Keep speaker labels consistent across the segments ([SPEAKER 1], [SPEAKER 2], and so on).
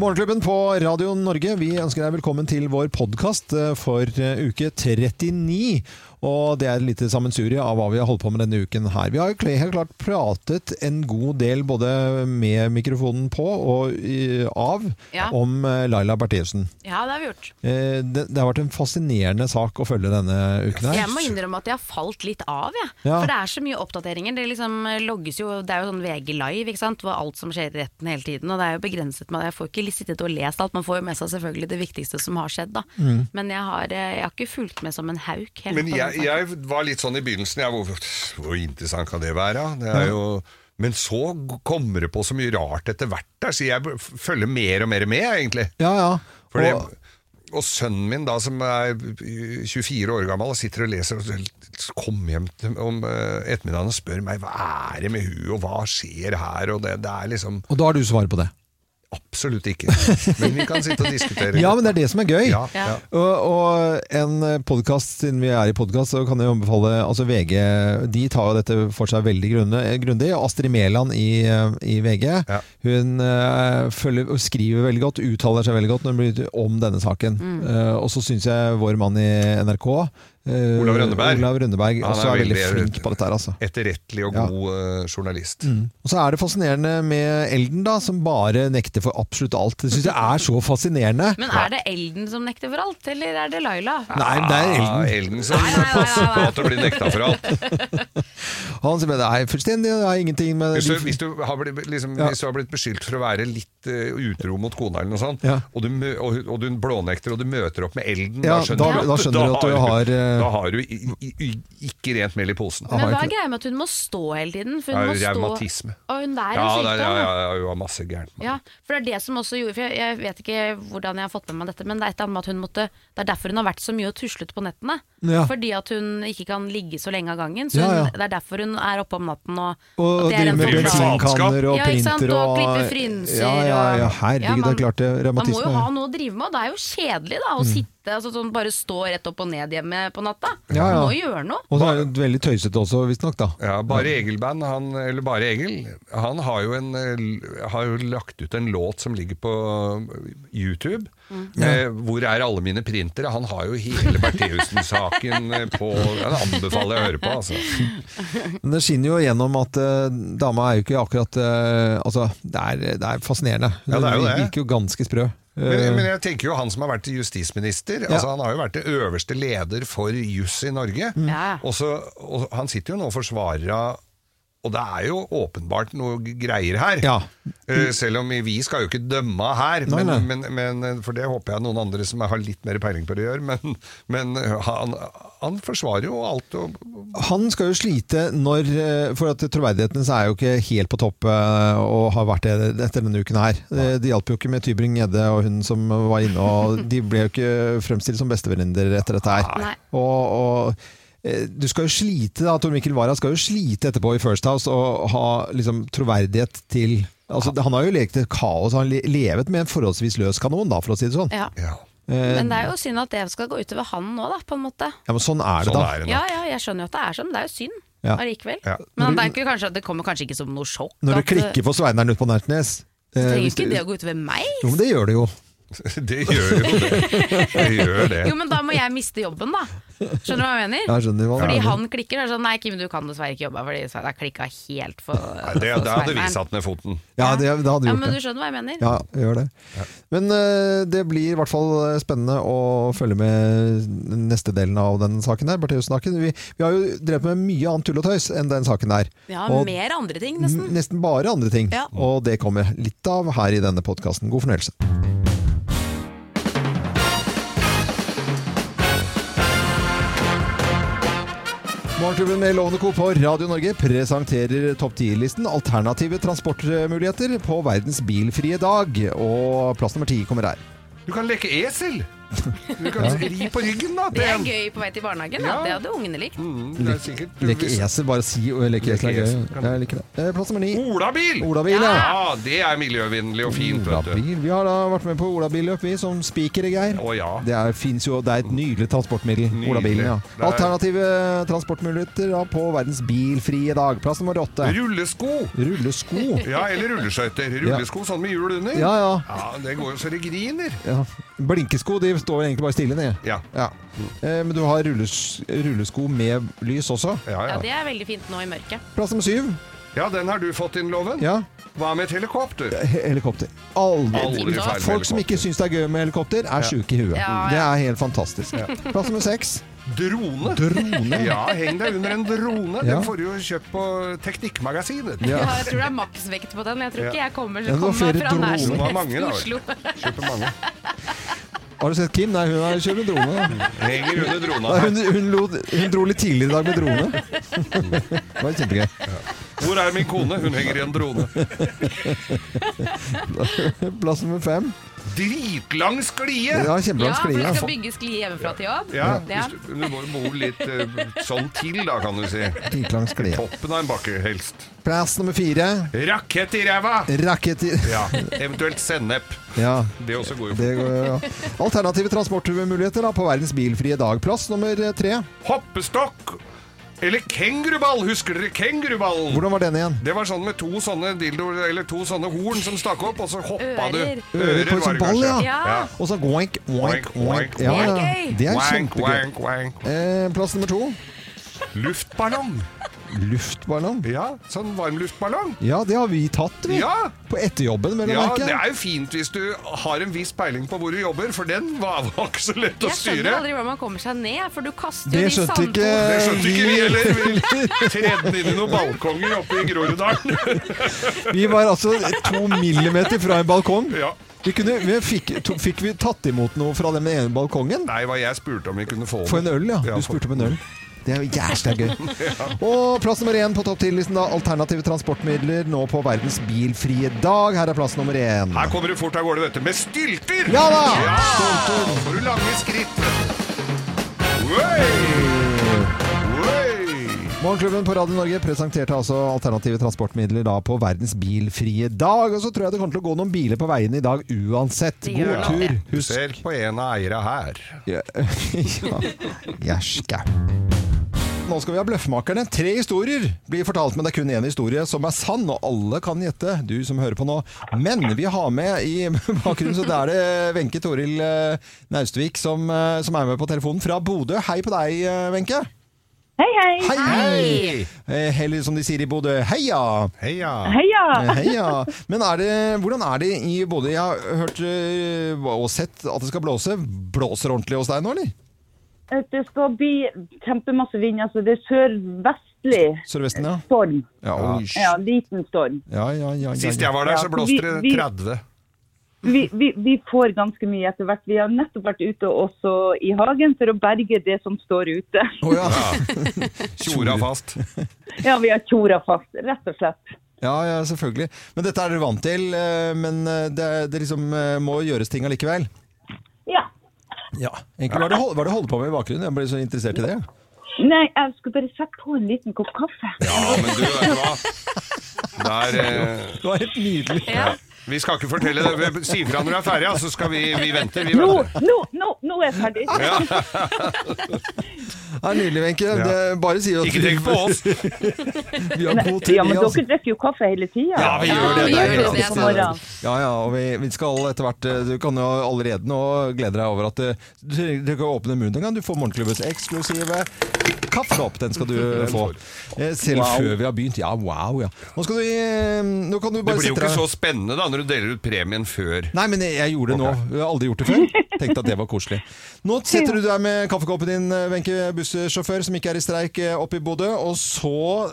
[SPEAKER 1] Morgenklubben på Radio Norge, vi ønsker deg velkommen til vår podkast for eh, uke 39. Og det er et lite sammensurie av hva vi har holdt på med denne uken her. Vi har jo kl- helt klart pratet en god del både med mikrofonen på og i- av
[SPEAKER 2] Ja.
[SPEAKER 1] om eh, Laila Bertheussen.
[SPEAKER 2] Ja, det har vi gjort.
[SPEAKER 1] Eh, Det, det har vært en fascinerende sak å følge denne uken her.
[SPEAKER 2] Jeg må innrømme at jeg har falt litt av, jeg.
[SPEAKER 1] Ja.
[SPEAKER 2] For det er så mye oppdateringer. Det liksom logges jo, det er jo sånn VG live, ikke sant. Hvor alt som skjer i retten hele tiden. Og det er jo begrenset. Man, jeg får ikke sittet og lest alt. Man får jo med seg selvfølgelig det viktigste som har skjedd, da.
[SPEAKER 1] Mm.
[SPEAKER 2] Men jeg har, eh, jeg har ikke fulgt med som en hauk. altså. helt
[SPEAKER 3] Men
[SPEAKER 2] på den
[SPEAKER 3] jeg,
[SPEAKER 2] saken.
[SPEAKER 3] jeg var litt sånn i begynnelsen jeg, hvor, hvor interessant kan det være? Det er jo, men så kommer det på så mye rart etter hvert der, så jeg følger mer og mer med, egentlig.
[SPEAKER 1] Ja, ja.
[SPEAKER 3] For
[SPEAKER 1] Og-
[SPEAKER 3] det, og sønnen min, da, som er 24 år gammel, og sitter og leser og kommer hjem til- om eh, ettermiddagen og spør meg hva er det med hun, og hva skjer her, og det, det er liksom
[SPEAKER 1] og da har du svar på det.
[SPEAKER 3] absolutt ikke. Men vi kan sitte og diskutere.
[SPEAKER 1] Ja, men det er det som er gøy.
[SPEAKER 3] Ja,
[SPEAKER 2] Ja.
[SPEAKER 3] ja.
[SPEAKER 1] Og, og en podkast, siden vi er i podkast, så kan jeg anbefale altså VG De tar jo dette for seg veldig grunne- grundig. Astrid Mæland i, i VG
[SPEAKER 3] Ja.
[SPEAKER 1] Hun eh, følger, og skriver veldig godt, uttaler seg veldig godt når hun blir, om denne saken.
[SPEAKER 2] Mm.
[SPEAKER 1] Eh, og så syns jeg vår mann i NRK eh,
[SPEAKER 3] Olav Rønneberg.
[SPEAKER 1] Olav Rønneberg
[SPEAKER 3] Han
[SPEAKER 1] også er,
[SPEAKER 3] er
[SPEAKER 1] veldig
[SPEAKER 3] veldig-
[SPEAKER 1] flink på dette her, altså.
[SPEAKER 3] Etterrettelig og
[SPEAKER 1] Ja.
[SPEAKER 3] god eh, journalist.
[SPEAKER 1] Og så er det fascinerende med Elden, da, som bare nekter for absolutt alt. Det syns jeg er så fascinerende.
[SPEAKER 2] Men er det Elden som nekter for alt, eller er det Laila?
[SPEAKER 1] Nei, men det er Elden.
[SPEAKER 3] Ja, Ah, Elden som
[SPEAKER 2] Nei, nei, nei, nei,
[SPEAKER 3] passer på
[SPEAKER 2] nei.
[SPEAKER 3] at du blir nekta for alt.
[SPEAKER 1] Han sier bare nei, fullstendig, det har ingenting med
[SPEAKER 3] Hvis du, hvis, du har blitt, liksom,
[SPEAKER 1] Ja.
[SPEAKER 3] hvis du har blitt beskyldt for å være litt eh, utro mot kona, eller noe sånt,
[SPEAKER 1] Ja.
[SPEAKER 3] og, du, mø- og, og du blånekter og du møter opp med elden,
[SPEAKER 1] Ja,
[SPEAKER 3] da skjønner,
[SPEAKER 1] da-
[SPEAKER 3] du,
[SPEAKER 1] da skjønner du at du har, eh,
[SPEAKER 3] Da har du i, i, i, ikke rent mel i posen.
[SPEAKER 1] har
[SPEAKER 2] Men hva
[SPEAKER 1] ikke
[SPEAKER 2] er greia med at hun må stå hele tiden? For
[SPEAKER 3] Det
[SPEAKER 2] hun
[SPEAKER 3] er
[SPEAKER 2] må
[SPEAKER 3] jo
[SPEAKER 2] stå-
[SPEAKER 3] revmatisme.
[SPEAKER 2] Å, hun der
[SPEAKER 3] Ja,
[SPEAKER 2] er sykdom.
[SPEAKER 3] det er, ja, ja, ja, hun har masse gærent. med
[SPEAKER 2] Ja, for det er det som også gjorde For jeg, jeg vet ikke hvordan jeg har fått med meg dette, men det er et eller annet med at hun måtte Det er derfor hun har vært så mye og tuslet på nettene.
[SPEAKER 1] Ja.
[SPEAKER 2] Fordi at hun ikke kan ligge så lenge av gangen. Så
[SPEAKER 1] Ja, ja.
[SPEAKER 2] hun, det er derfor hun er oppe om natten og,
[SPEAKER 1] Og
[SPEAKER 2] at det er
[SPEAKER 1] drive
[SPEAKER 2] en sånn
[SPEAKER 1] med
[SPEAKER 3] Driver med
[SPEAKER 2] forklaring.
[SPEAKER 1] bensinkanner og
[SPEAKER 2] Ja, ikke sant,
[SPEAKER 1] printer
[SPEAKER 2] og klippe frynser
[SPEAKER 1] Ja, ja, ja,
[SPEAKER 2] og-
[SPEAKER 1] herregud,
[SPEAKER 2] Ja,
[SPEAKER 1] det
[SPEAKER 2] man-
[SPEAKER 1] er klart det.
[SPEAKER 2] Man må
[SPEAKER 1] Revmatisme.
[SPEAKER 2] jo ha noe å drive med, og det er jo kjedelig da å
[SPEAKER 1] Mm.
[SPEAKER 2] sitte altså, sånn, bare stå rett opp og ned hjemme på natta.
[SPEAKER 1] Ja, ja.
[SPEAKER 2] Du må gjøre noe.
[SPEAKER 1] Og så er det veldig tøysete også, visstnok, da.
[SPEAKER 3] Ja, Bare Egil-band, han, eller Bare Egil, han har jo, en, eh, har jo lagt ut en låt som ligger på YouTube. Med 'Hvor er alle mine printere?' Han har jo hele Bertheussen-saken eh, på Den anbefaler jeg å høre på, altså.
[SPEAKER 1] Men det skinner jo gjennom at eh, dama er jo ikke akkurat eh, Altså, det er, det er fascinerende.
[SPEAKER 3] Ja, det er
[SPEAKER 1] Hun
[SPEAKER 3] jo det.
[SPEAKER 1] virker jo ganske sprø.
[SPEAKER 3] Men,
[SPEAKER 1] Eh,
[SPEAKER 3] men jeg tenker jo han som har vært justisminister altså Han har jo vært det øverste leder for juss i Norge.
[SPEAKER 1] Mm.
[SPEAKER 2] Ja.
[SPEAKER 3] Og, så, og han sitter jo nå og forsvarer av Og det er jo åpenbart noe greier her.
[SPEAKER 1] Ja.
[SPEAKER 3] Eh, Selv om vi skal jo ikke dømme her,
[SPEAKER 1] Nei,
[SPEAKER 3] men,
[SPEAKER 1] nei.
[SPEAKER 3] Men, men, eh, for det håper jeg noen andre som har litt mer peiling på det gjør. Men, men eh, han, han forsvarer jo alt og
[SPEAKER 1] Han skal jo slite når eh, For at troverdigheten så er jo ikke helt på topp eh, og har vært det etter denne uken her. Eh, Det hjalp jo ikke med Tybring Gjedde og hun som var inne, og de ble jo ikke fremstilt som bestevenninner etter dette her.
[SPEAKER 2] Nei.
[SPEAKER 1] Og, og eh, du skal jo slite da, Tor Mikkel Wara skal jo slite etterpå i First House og ha liksom troverdighet til Altså, han har jo lekt et kaos, han har le- levet med en forholdsvis løs kanon, da, for å si det sånn.
[SPEAKER 2] Ja.
[SPEAKER 3] Ja,
[SPEAKER 1] Eh,
[SPEAKER 2] Men det er jo synd at det skal gå utover han nå, da, på en måte.
[SPEAKER 1] Ja, men sånn er det,
[SPEAKER 3] sånn
[SPEAKER 1] da.
[SPEAKER 3] er det nå.
[SPEAKER 2] Ja, ja, jeg skjønner jo at det er sånn, men det er jo synd
[SPEAKER 1] Ja.
[SPEAKER 2] allikevel.
[SPEAKER 3] Ja.
[SPEAKER 2] Men det, er ikke kanskje, det kommer kanskje ikke som noe sjokk.
[SPEAKER 1] Når du
[SPEAKER 2] at- eh,
[SPEAKER 1] klikker på Sveineren ute på Nertnes
[SPEAKER 2] Så
[SPEAKER 1] eh,
[SPEAKER 2] trenger
[SPEAKER 1] hvis
[SPEAKER 2] ikke
[SPEAKER 1] du-
[SPEAKER 2] det å gå utover meg.
[SPEAKER 1] Jo, men det gjør det jo.
[SPEAKER 3] Det gjør jo det. det, gjør det.
[SPEAKER 2] Jo, men da må jeg miste jobben, da. Skjønner du hva
[SPEAKER 1] Ja,
[SPEAKER 2] jeg mener?
[SPEAKER 1] jeg skjønner hva du
[SPEAKER 2] Fordi
[SPEAKER 1] mener.
[SPEAKER 2] han klikker, er sånn Nei, Kim, du kan dessverre ikke jobbe, her, fordi Svein har klikka helt for
[SPEAKER 3] Nei, det, det hadde vi satt ned foten.
[SPEAKER 1] Ja, det, da hadde du
[SPEAKER 2] Ja,
[SPEAKER 1] gjort
[SPEAKER 2] men du
[SPEAKER 1] det.
[SPEAKER 2] skjønner hva jeg mener?
[SPEAKER 1] Ja, gjør det. Men eh, det blir i hvert fall eh, spennende å følge med neste delen av den saken der. Bertheussen-saken. Vi, vi har jo drevet med mye annet tull og tøys enn den saken der.
[SPEAKER 2] Ja,
[SPEAKER 1] og Mm,
[SPEAKER 2] mer andre ting, nesten.
[SPEAKER 1] nesten bare andre ting.
[SPEAKER 2] Ja.
[SPEAKER 1] Og det kommer litt av her i denne podkasten. God fornøyelse. Morgenklubben med Lovende Co. på Radio Norge presenterer topp 10-listen alternative transportmuligheter på verdens bilfrie dag. Og plass nummer ti kommer her.
[SPEAKER 3] Du kan leke esel! Du kan ri på ryggen, da.
[SPEAKER 2] Det er
[SPEAKER 3] til en.
[SPEAKER 2] gøy på vei til barnehagen, da.
[SPEAKER 3] Ja.
[SPEAKER 2] Det hadde ungene likt.
[SPEAKER 3] Mm, det er sikkert
[SPEAKER 1] Leke esel, bare si og leke esel er
[SPEAKER 3] Leke
[SPEAKER 1] gøy.
[SPEAKER 3] esel, kan du.
[SPEAKER 1] Jeg liker det. Eh, Plass nummer ni.
[SPEAKER 3] Olabil!
[SPEAKER 1] Olabil, ja.
[SPEAKER 3] Ja, det er miljøvennlig og fint, vet du.
[SPEAKER 1] Olabil. Vi har da vært med på olabilløp, vi, som spikere, Geir.
[SPEAKER 3] Å ja.
[SPEAKER 1] Det er, finnes jo, det er et nydelig transportmiddel,
[SPEAKER 3] Nydelig.
[SPEAKER 1] olabilen. ja.
[SPEAKER 3] Det er-
[SPEAKER 1] Alternative transportmuligheter da, på verdens bilfrie dag. Plass nummer åtte.
[SPEAKER 3] Rullesko!
[SPEAKER 1] Rullesko.
[SPEAKER 3] Ja, eller rulleskøyter. Rullesko sånn med hjul under.
[SPEAKER 1] Ja, ja.
[SPEAKER 3] Ja, det går jo så det griner.
[SPEAKER 1] ja. Blinkesko de står egentlig bare stille ned.
[SPEAKER 3] Ja.
[SPEAKER 1] Ja. Eh, Men du har rulles, rullesko med lys også.
[SPEAKER 3] Ja,
[SPEAKER 2] Ja,
[SPEAKER 3] ja.
[SPEAKER 2] det er veldig fint nå i mørket.
[SPEAKER 1] Plass nummer syv.
[SPEAKER 3] ja, den har du fått inn, Loven.
[SPEAKER 1] Ja.
[SPEAKER 3] Hva med et helikopter?
[SPEAKER 1] he- Helikopter. Aldri.
[SPEAKER 3] Aldri
[SPEAKER 2] fint, da.
[SPEAKER 3] feil med
[SPEAKER 1] Folk som
[SPEAKER 3] helikopter.
[SPEAKER 1] ikke syns det er gøy med helikopter, er sjuke i huet.
[SPEAKER 2] Ja, ja.
[SPEAKER 1] Det er helt fantastisk. Plass nummer seks.
[SPEAKER 3] Drone.
[SPEAKER 1] Drone.
[SPEAKER 3] Ja, heng deg under en drone.
[SPEAKER 1] Ja.
[SPEAKER 3] Den får du jo kjøpt på Teknikkmagasinet.
[SPEAKER 1] Ja.
[SPEAKER 2] Ja. Jeg tror det er maksvekt på den. Jeg tror
[SPEAKER 3] Ja.
[SPEAKER 2] ikke jeg kommer
[SPEAKER 1] Ja, det var
[SPEAKER 2] kom meg
[SPEAKER 1] flere
[SPEAKER 2] fra nær som
[SPEAKER 3] droner. Det var
[SPEAKER 2] helst
[SPEAKER 3] mange,
[SPEAKER 2] i
[SPEAKER 3] da, vel.
[SPEAKER 2] Oslo.
[SPEAKER 3] Kjøper mange.
[SPEAKER 1] Har du sett Kim? Nei, hun er kjører drone. da.
[SPEAKER 3] Henger under drona.
[SPEAKER 1] Nei, hun, hun, lo, hun dro litt tidlig i dag med drone. Det var kjempegøy.
[SPEAKER 3] Hvor er min kone? Hun henger i en drone.
[SPEAKER 1] Plass nummer fem.
[SPEAKER 3] Dritlang sklie!
[SPEAKER 1] Ja,
[SPEAKER 2] Ja,
[SPEAKER 1] kjempelang
[SPEAKER 2] for
[SPEAKER 1] sklie.
[SPEAKER 2] du skal
[SPEAKER 1] altså.
[SPEAKER 2] bygge skli hjemmefra til jobb.
[SPEAKER 3] Ja, hvis du, du må jo bo litt eh, sånn til, da, kan du si.
[SPEAKER 1] Dritlang sklie.
[SPEAKER 3] Toppen av en bakke, helst.
[SPEAKER 1] Plass nummer fire.
[SPEAKER 3] Rakett i ræva!
[SPEAKER 1] Racket i
[SPEAKER 3] Ja, eventuelt sennep.
[SPEAKER 1] Ja.
[SPEAKER 3] Det også går jo
[SPEAKER 1] Det går, ja. Alternative transportmuligheter da, på verdens bilfrie dag. Plass nummer tre.
[SPEAKER 3] Hoppestokk! Eller kenguruball! Husker dere kenguruballen?
[SPEAKER 1] Hvordan var den igjen?
[SPEAKER 3] Det var sånn med to sånne dildoer, eller to sånne horn som stakk opp, og så hoppa
[SPEAKER 2] Ører.
[SPEAKER 3] du.
[SPEAKER 1] Ører på en sånn ball, ja.
[SPEAKER 2] Ja.
[SPEAKER 1] Og så goink, oink,
[SPEAKER 3] Oink,
[SPEAKER 1] oink.
[SPEAKER 3] oink,
[SPEAKER 1] Ja,
[SPEAKER 2] oink.
[SPEAKER 1] ja. Det er
[SPEAKER 3] Wank,
[SPEAKER 1] kjempegøy.
[SPEAKER 3] wank, wank.
[SPEAKER 1] Eh, plass nummer to.
[SPEAKER 3] Luftballong.
[SPEAKER 1] Luftballong.
[SPEAKER 3] Ja, sånn varmluftballong.
[SPEAKER 1] Ja, det har vi tatt, vi.
[SPEAKER 3] Ja.
[SPEAKER 1] På etterjobben, vel å
[SPEAKER 3] Ja, det
[SPEAKER 1] merke.
[SPEAKER 3] er jo fint hvis du har en viss peiling på hvor du jobber, for den var var ikke så lett å
[SPEAKER 2] Jeg skjønner
[SPEAKER 3] styre.
[SPEAKER 2] aldri hvordan man kommer seg ned, for du kaster jo
[SPEAKER 1] Det
[SPEAKER 2] de
[SPEAKER 1] skjønte ikke
[SPEAKER 2] sandkornene.
[SPEAKER 3] Det skjønte ikke vi heller.
[SPEAKER 1] vi.
[SPEAKER 3] Vi tredde den inn i noen balkonger oppe i Groruddalen.
[SPEAKER 1] Vi var altså to millimeter fra en balkong.
[SPEAKER 3] Ja.
[SPEAKER 1] Vi kunne, vi fikk, to, fikk vi tatt imot noe fra den ene balkongen?
[SPEAKER 3] Nei, hva jeg spurte om vi kunne få
[SPEAKER 1] For en øl, ja.
[SPEAKER 3] Ja,
[SPEAKER 1] Du
[SPEAKER 3] for-
[SPEAKER 1] spurte om en øl. Det er jo jævlig gøy. Og plass nummer én på topp 10-listen, da. Alternative transportmidler nå på verdens bilfrie dag. Her er plass nummer én.
[SPEAKER 3] Her kommer du fort av gårde, vet du, med stylter!
[SPEAKER 1] Ja da!
[SPEAKER 3] Ja! Så får du lange skritt. Oi! Oi!
[SPEAKER 1] Morgenklubben på Radio Norge presenterte altså alternative transportmidler da på verdens bilfrie dag. Og så tror jeg det kommer til å gå noen biler på veien i dag uansett.
[SPEAKER 2] Det
[SPEAKER 1] God
[SPEAKER 2] gjør nok
[SPEAKER 1] tur.
[SPEAKER 2] det.
[SPEAKER 3] Du
[SPEAKER 1] Husk
[SPEAKER 3] ser på en av eierne her.
[SPEAKER 1] Ja. Gjerske. Nå skal vi ha Bløffmakerne. Tre historier blir fortalt, men det er kun én historie som er sann, og alle kan gjette, du som hører på nå. Men vi har med i bakgrunnen, så det er det Wenche Toril eh, Naustvik som, eh, som er med på telefonen fra Bodø. Hei på deg, eh, Wenche.
[SPEAKER 4] Hei, hei.
[SPEAKER 1] Hei!
[SPEAKER 2] Hei!
[SPEAKER 1] Eh, Eller som de sier i Bodø, heia!
[SPEAKER 3] Heia!
[SPEAKER 4] Heia.
[SPEAKER 1] Eh, Heia! Men er det, hvordan er det i Bodø? Jeg har hørt eh, og sett at det skal blåse. Blåser ordentlig hos deg nå, eller?
[SPEAKER 4] Eh, Det skal bli kjempemasse vind. Altså, det er sørvestlig
[SPEAKER 1] Sørvesten, ja.
[SPEAKER 4] storm.
[SPEAKER 1] Ja, oi, sj-
[SPEAKER 4] Ja, liten storm.
[SPEAKER 1] ja, ja, ja, ja,
[SPEAKER 3] Sist
[SPEAKER 1] ja.
[SPEAKER 3] jeg var der, så blåste
[SPEAKER 4] Ja,
[SPEAKER 3] det
[SPEAKER 4] vi- vi-
[SPEAKER 3] 30.
[SPEAKER 4] Vi, vi, vi får ganske mye etter hvert. Vi har nettopp vært ute også i hagen for å berge det som står ute.
[SPEAKER 1] Å, ja.
[SPEAKER 3] Tjora fast.
[SPEAKER 4] Ja, vi har tjora fast, rett og slett.
[SPEAKER 1] ja, ja, selvfølgelig. Men dette er dere vant til, eh, men eh, det, det liksom eh, må gjøres ting allikevel.
[SPEAKER 4] Ja.
[SPEAKER 1] Ja. Egentlig, hva er det hold- hva er det du holder på med i bakgrunnen? Jeg ble så interessert i det.
[SPEAKER 4] Nei, jeg skulle bare sette på en liten kopp kaffe.
[SPEAKER 3] Ja, men du, vet du hva? Der, eh,
[SPEAKER 1] Det var helt nydelig.
[SPEAKER 2] Ja.
[SPEAKER 3] vi skal ikke fortelle det. Vi- Si fra når du er ferdig, ja, så skal vi, vi vente. Vi
[SPEAKER 4] Nå,
[SPEAKER 3] venter.
[SPEAKER 4] nå, nå, nå er jeg ferdig.
[SPEAKER 3] Ja.
[SPEAKER 1] Det er nydelig, Wenche.
[SPEAKER 3] Ja.
[SPEAKER 1] Det- Bare si at
[SPEAKER 3] Ikke tenk på oss!
[SPEAKER 1] vi har god tid.
[SPEAKER 4] Ja, men
[SPEAKER 1] vi, altså.
[SPEAKER 4] dere drikker jo kaffe hele tida.
[SPEAKER 3] Ja, vi gjør det.
[SPEAKER 2] vi
[SPEAKER 3] Det er
[SPEAKER 2] gjør
[SPEAKER 3] helt
[SPEAKER 2] det, det er
[SPEAKER 3] sant.
[SPEAKER 4] sant. morgen.
[SPEAKER 1] Ja, ja, og vi, vi skal etter hvert eh, Du kan jo allerede nå glede deg over at eh, du trenger du trenger ikke å åpne munnen engang. Du får morgenklubbens eksklusive kaffekopp. Den skal du få. Eh, Selv før vi har begynt. Ja, wow, ja. Nå skal du eh, Nå kan du
[SPEAKER 3] Det
[SPEAKER 1] bare
[SPEAKER 3] blir jo
[SPEAKER 1] sitte
[SPEAKER 3] ikke
[SPEAKER 1] der.
[SPEAKER 3] så spennende da når du deler ut premien før.
[SPEAKER 1] Nei, men jeg, jeg gjorde det nå. Jeg har aldri gjort det før. Tenkte at det var koselig. Nå sitter du der med kaffekoppen din, eh, Wenche, bussjåfør som ikke er i streik eh, oppe i Bodø. Og så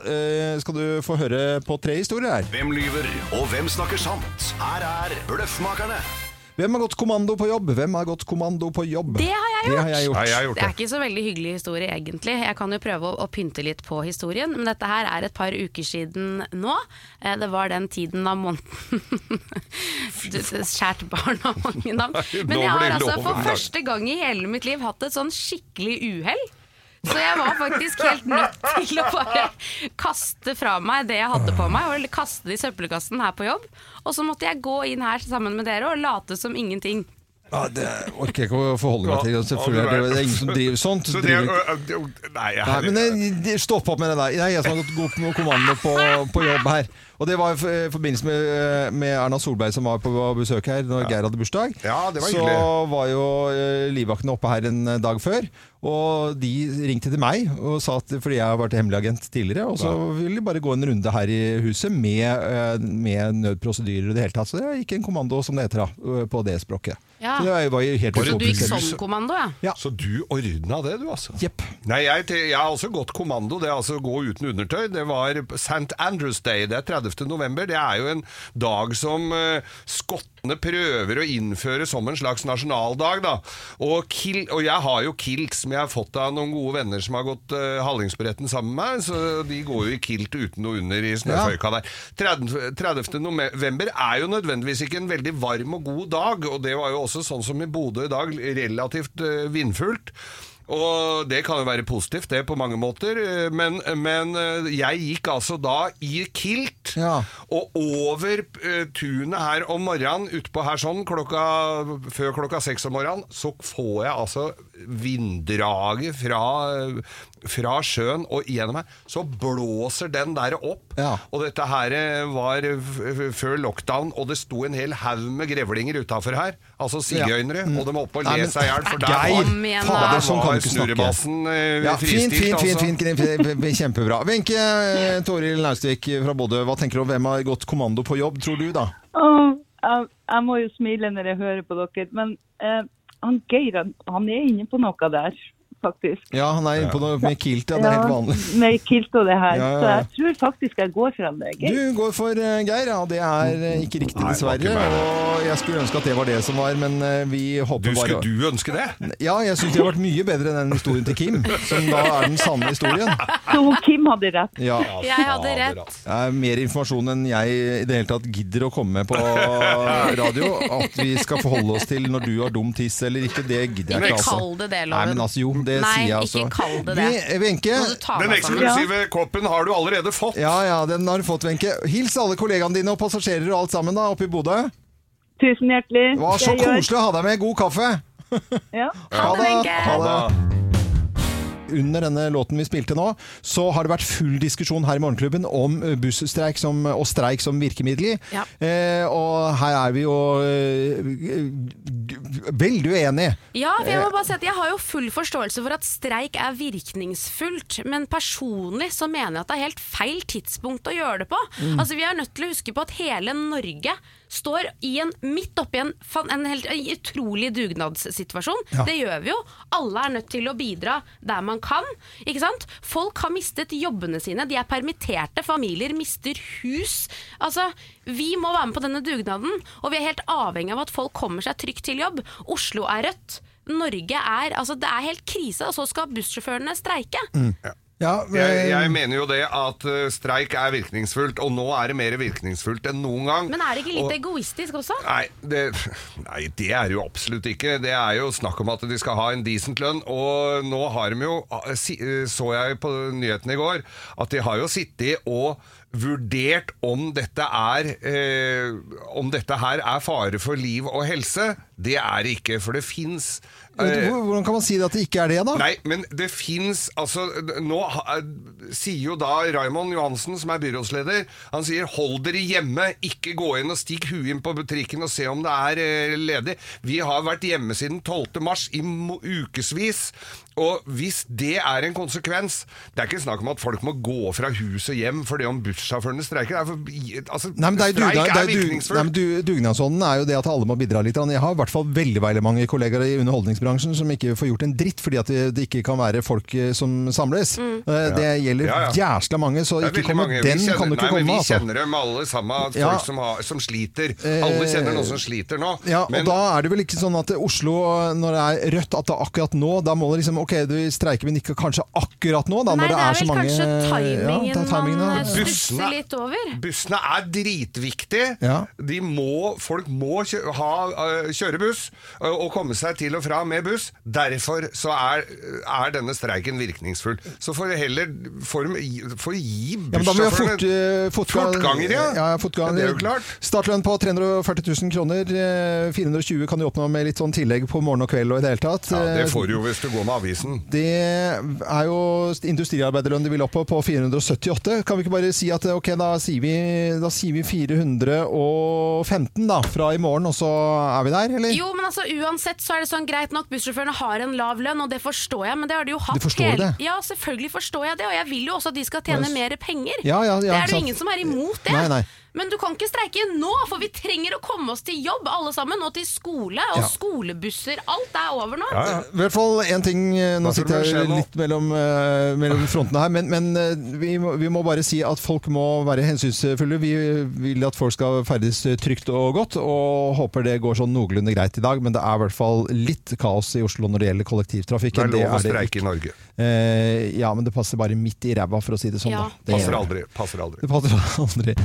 [SPEAKER 1] eh, skal du få høre på tre historier her.
[SPEAKER 5] Hvem lyver, og hvem snakker sant? Her er Bløffmakerne.
[SPEAKER 1] Hvem har gått kommando på jobb? Hvem har gått kommando på jobb?
[SPEAKER 2] Det har jeg
[SPEAKER 1] Det
[SPEAKER 2] gjort.
[SPEAKER 1] har jeg gjort.
[SPEAKER 3] Nei, jeg har gjort
[SPEAKER 2] Det er
[SPEAKER 3] det.
[SPEAKER 2] ikke så veldig hyggelig historie, egentlig. Jeg kan jo prøve å, å pynte litt på historien, men dette her er et par uker siden nå. Eh, Det var den tiden av måneden Du, Skjært barn av mange navn. Men
[SPEAKER 3] Nå
[SPEAKER 2] jeg
[SPEAKER 3] blir
[SPEAKER 2] har
[SPEAKER 3] det
[SPEAKER 2] altså
[SPEAKER 3] lov om
[SPEAKER 2] for
[SPEAKER 3] dagen.
[SPEAKER 2] første gang i hele mitt liv hatt et sånn skikkelig uhell. Så jeg var faktisk helt nødt til å bare kaste fra meg det jeg hadde på meg, og kaste det i søppelkassen her på jobb. Og så måtte jeg gå inn her sammen med dere og late som ingenting.
[SPEAKER 1] Ja, det orker jeg ikke å forholde meg til. Selvfølgelig, er det, det er ingen som driver sånt.
[SPEAKER 3] Så det,
[SPEAKER 1] driver ikke.
[SPEAKER 3] ø, ø, ø, nei, jeg,
[SPEAKER 1] Nei, men det- det- Stopp opp med det der. Det er jeg som har gått god med kommando på, på jobb her. Og det var i f- eh, forbindelse med, eh, med Erna Solberg som var på besøk her når Geir hadde bursdag.
[SPEAKER 3] Ja, det var
[SPEAKER 1] så
[SPEAKER 3] hyggelig.
[SPEAKER 1] var jo eh, livvaktene oppe her en eh, dag før. Og de ringte til meg og sa at fordi jeg har vært hemmelig agent tidligere, og så ville de bare gå en runde her i huset med, eh, med nødprosedyrer i det hele tatt. Så det gikk en kommando, som det heter da, eh, på det språket.
[SPEAKER 2] Ja.
[SPEAKER 1] Så det var jo helt
[SPEAKER 2] Så du gikk
[SPEAKER 1] utrolig.
[SPEAKER 2] som kommando, ja?
[SPEAKER 1] Ja.
[SPEAKER 3] Så du ordna det, du altså?
[SPEAKER 1] Jepp.
[SPEAKER 3] Nei, jeg, jeg har også gått kommando. Det er altså å gå uten undertøy. Det var St. Andrews Day. Det er 30. november. Det er jo en dag som eh, skottene prøver å innføre som en slags nasjonaldag, da. Og, kil, og jeg har jo kilt som jeg har fått av noen gode venner som har gått uh, Hallingsbretten sammen med meg, så de går jo i kilt uten og under i snøføyka der. 30. 30. november er jo nødvendigvis ikke en veldig varm og god dag, og det var jo også sånn som i Bodø i dag, relativt eh, vindfullt. Og det kan jo være positivt, det på mange måter, eh, men, men eh, jeg gikk altså da i kilt
[SPEAKER 1] Ja.
[SPEAKER 3] og over eh, tunet her om morgenen, utpå her sånn, klokka, før klokka seks om morgenen, så får jeg altså vinddraget fra, eh, fra sjøen og gjennom her, så blåser den der opp.
[SPEAKER 1] Ja.
[SPEAKER 3] Og dette her eh, var f f før lockdown, og det sto en hel haug med grevlinger utafor her, altså sigøynere, og de var oppe og
[SPEAKER 1] Mm. Nei, men-
[SPEAKER 3] le seg i hjel, for der
[SPEAKER 1] Geir!
[SPEAKER 3] var
[SPEAKER 2] Kom igjen, da.
[SPEAKER 1] Fader, sånn kan
[SPEAKER 3] var
[SPEAKER 1] du ikke snakke.
[SPEAKER 3] snurrebassen eh,
[SPEAKER 1] Ja,
[SPEAKER 3] fristilt,
[SPEAKER 1] fint, fint, fint,
[SPEAKER 3] altså.
[SPEAKER 1] fint, fint, fint, kjempebra. Wenche eh, Toril Naustvik fra Bodø, hva tenker du om hvem har gått kommando på jobb, tror du da?
[SPEAKER 4] Åh, jeg, jeg må jo smile når jeg hører på dere, men eh, han Geir han, han er inne på noe der, faktisk.
[SPEAKER 1] Ja, han er inne på noe med kilt, ja, det er helt vanlig.
[SPEAKER 4] Med kilt og det her.
[SPEAKER 1] Ja, ja,
[SPEAKER 4] Så
[SPEAKER 1] ja.
[SPEAKER 4] jeg tror faktisk jeg går for han, det, Geir.
[SPEAKER 1] Du går for eh, Geir, ja, det er eh, ikke riktig
[SPEAKER 3] Nei, det var ikke
[SPEAKER 1] dessverre,
[SPEAKER 3] meg.
[SPEAKER 1] og jeg skulle ønske at det var det som var, men eh, vi
[SPEAKER 3] Du,
[SPEAKER 1] håper
[SPEAKER 3] skulle
[SPEAKER 1] bare...
[SPEAKER 3] du ønske det?
[SPEAKER 1] Ja, jeg synes det har vært mye bedre enn den historien til Kim, som da er den sanne historien.
[SPEAKER 4] Så hun Kim hadde rett.
[SPEAKER 1] Ja,
[SPEAKER 2] Jeg hadde
[SPEAKER 3] fader,
[SPEAKER 2] rett.
[SPEAKER 3] altså.
[SPEAKER 1] Det er mer informasjon enn jeg i det hele tatt gidder å komme med på radio. At vi skal forholde oss til når du har dum tiss eller ikke, det gidder jeg
[SPEAKER 3] Men
[SPEAKER 1] ikke. altså.
[SPEAKER 2] kall det det, Loven.
[SPEAKER 1] Nei, men altså, jo, det
[SPEAKER 2] Nei,
[SPEAKER 1] sier jeg altså.
[SPEAKER 2] ikke kall det det.
[SPEAKER 1] Vi- eh, Wenche.
[SPEAKER 2] Må du ta
[SPEAKER 3] Den
[SPEAKER 2] deg sammen.
[SPEAKER 3] eksklusive koppen har du allerede fått.
[SPEAKER 1] Ja, ja, den har du fått, Wenche. Hils alle kollegaene dine og passasjerer og alt sammen da, oppe i Bodø.
[SPEAKER 4] Tusen hjertelig.
[SPEAKER 1] Det var så
[SPEAKER 4] Det gjør-
[SPEAKER 1] koselig å ha deg med. God kaffe.
[SPEAKER 4] Ja.
[SPEAKER 2] Ha det, Wenche.
[SPEAKER 1] Ha det.
[SPEAKER 3] Da-
[SPEAKER 1] under denne låten vi spilte nå, så har det vært full diskusjon her i Morgenklubben om busstreik som, og streik som virkemiddel.
[SPEAKER 2] Ja.
[SPEAKER 1] Eh, og her er vi jo eh, veldig uenige.
[SPEAKER 2] Ja, for jeg må bare si at jeg har jo full forståelse for at streik er virkningsfullt, men personlig så mener jeg at det er helt feil tidspunkt å gjøre det på.
[SPEAKER 1] Mm.
[SPEAKER 2] Altså Vi er nødt til å huske på at hele Norge står i en, midt oppi en, fan- en helt en utrolig dugnadssituasjon. Det gjør vi jo. Alle er nødt til å bidra der man kan. Ikke sant? Folk har mistet jobbene sine, de er permitterte, familier mister hus. Altså, Vi må være med på denne dugnaden, og vi er helt avhengig av at folk kommer seg trygt til jobb. Oslo er rødt. Norge er Altså, det er helt krise, og så skal bussjåførene streike.
[SPEAKER 1] Ja,
[SPEAKER 3] Jeg, jeg
[SPEAKER 1] eh,
[SPEAKER 3] mener jo det at eh, streik er virkningsfullt, og nå er det mer virkningsfullt enn noen gang.
[SPEAKER 2] Men er det ikke litt
[SPEAKER 3] Og-
[SPEAKER 2] egoistisk også?
[SPEAKER 3] Nei det, nei, det er jo absolutt ikke. Det er jo snakk om at de skal ha en decent lønn. Og nå har de jo, eh, si- så jeg på nyhetene i går, at de har jo sittet og vurdert om dette er eh, Om dette her er fare for liv og helse. Det er det ikke, for det eh, fins
[SPEAKER 1] hvor- Hvordan kan man si det at det ikke er det, da?
[SPEAKER 3] Nei, men det fins altså, Nå ha- sier jo da Raymond Johansen, som er byrådsleder, han sier 'hold dere hjemme', ikke gå inn og stikk huet inn på butikken og se om det er eh, ledig. Vi har vært hjemme siden 12. mars i mo- ukevis. Og hvis det er en konsekvens Det er ikke snakk om at folk må gå fra hus og hjem fordi om buss bussjåførene streiker. Det er for, altså,
[SPEAKER 1] Nei, men det er jo
[SPEAKER 3] streik
[SPEAKER 1] dugnad, det er jo
[SPEAKER 3] er
[SPEAKER 1] dug, nei, men
[SPEAKER 3] virkningsfullt.
[SPEAKER 1] du, dugnadsånden er jo det at alle må bidra litt. Jeg har i hvert fall veldig veldig mange kollegaer i underholdningsbransjen som ikke får gjort en dritt fordi at det, det ikke kan være folk eh, som samles.
[SPEAKER 2] Mm.
[SPEAKER 1] Eh, Det gjelder
[SPEAKER 3] Ja, ja.
[SPEAKER 1] jævla mange, så
[SPEAKER 3] Det er
[SPEAKER 1] ikke
[SPEAKER 3] veldig
[SPEAKER 1] kommer,
[SPEAKER 3] mange. Vi
[SPEAKER 1] den
[SPEAKER 3] kjenner,
[SPEAKER 1] kan du ikke
[SPEAKER 3] nei, men
[SPEAKER 1] komme
[SPEAKER 3] Vi
[SPEAKER 1] altså.
[SPEAKER 3] kjenner dem alle sammen, folk
[SPEAKER 1] Ja.
[SPEAKER 3] som, har, som sliter.
[SPEAKER 1] Eh,
[SPEAKER 3] Alle kjenner noen som sliter nå.
[SPEAKER 1] Ja,
[SPEAKER 3] men-
[SPEAKER 1] og da er det vel ikke sånn at Oslo, når det er rødt, at det er akkurat nå Da må det liksom, ok, du streiker, men ikke kanskje akkurat nå da,
[SPEAKER 2] Nei,
[SPEAKER 1] når
[SPEAKER 2] det
[SPEAKER 1] det
[SPEAKER 2] er
[SPEAKER 1] så
[SPEAKER 2] vel
[SPEAKER 1] mange
[SPEAKER 2] kanskje
[SPEAKER 1] Ja, det
[SPEAKER 2] timingen
[SPEAKER 1] er timingen, ja.
[SPEAKER 2] man eh,
[SPEAKER 3] Bussene-
[SPEAKER 2] stusser litt over.
[SPEAKER 3] Bussene er dritviktige.
[SPEAKER 1] Ja.
[SPEAKER 3] De må, folk må kjø ha, øh, kjøre buss øh, og komme seg til og fra med buss. Derfor så er, er denne streiken virkningsfull. Så får det heller for, for gi
[SPEAKER 1] Ja, men da må vi ha fort,
[SPEAKER 3] bussjåførene
[SPEAKER 1] eh, fotgang-
[SPEAKER 3] Fortganger, ja.
[SPEAKER 1] ja, ja fortganger.
[SPEAKER 3] Det er jo klart.
[SPEAKER 1] Startlønn på 340 000 kroner. eh, 420 kan du oppnå med litt sånn tillegg på morgen og kveld og i det hele tatt.
[SPEAKER 3] ja, Det
[SPEAKER 1] Eh,
[SPEAKER 3] får du jo hvis du går med avisen.
[SPEAKER 1] det er jo industriarbeiderlønn de vil opp på, på 478. Kan vi ikke bare si at eh, ok, da sier vi, da sier vi 415 da, fra i morgen, og så er vi der, eller?
[SPEAKER 2] Jo, men altså uansett så er det sånn greit nok, bussjåførene har en lav lønn, og det forstår jeg, men det har de jo hatt
[SPEAKER 1] Du forstår det?
[SPEAKER 2] Ja, selvfølgelig forstår jeg det, og jeg vil jo også at de skal tjene
[SPEAKER 1] Yes.
[SPEAKER 2] mer penger.
[SPEAKER 1] Ja, ja, ja,
[SPEAKER 2] det
[SPEAKER 1] ikke
[SPEAKER 2] er det
[SPEAKER 1] sant.
[SPEAKER 2] jo ingen som er imot det.
[SPEAKER 1] Nei, nei.
[SPEAKER 2] Men du kan ikke streike nå, for vi trenger å komme oss til jobb alle sammen, og til skole, og
[SPEAKER 1] Ja.
[SPEAKER 2] skolebusser. Alt er over nå.
[SPEAKER 3] ja.
[SPEAKER 1] I hvert fall en ting eh, Nå
[SPEAKER 3] Hva tror du
[SPEAKER 1] sitter
[SPEAKER 3] vil
[SPEAKER 1] jeg
[SPEAKER 3] skje nå?
[SPEAKER 1] litt mellom, eh, mellom frontene her, men, men eh, vi, må, vi må bare si at folk må være hensynsfulle. Vi vil at folk skal ferdes trygt og godt, og håper det går sånn noenlunde greit i dag. Men det er i hvert fall litt kaos i Oslo når det gjelder
[SPEAKER 3] Det
[SPEAKER 1] kollektivtrafikken.
[SPEAKER 3] er lov å
[SPEAKER 1] det
[SPEAKER 3] streike i Norge.
[SPEAKER 1] ikke. Eh, ja, men det passer bare midt i ræva, for å si det sånn.
[SPEAKER 2] Ja.
[SPEAKER 1] Da. Det, gjør
[SPEAKER 3] Passer
[SPEAKER 1] det.
[SPEAKER 3] aldri. Passer aldri.
[SPEAKER 1] det passer aldri.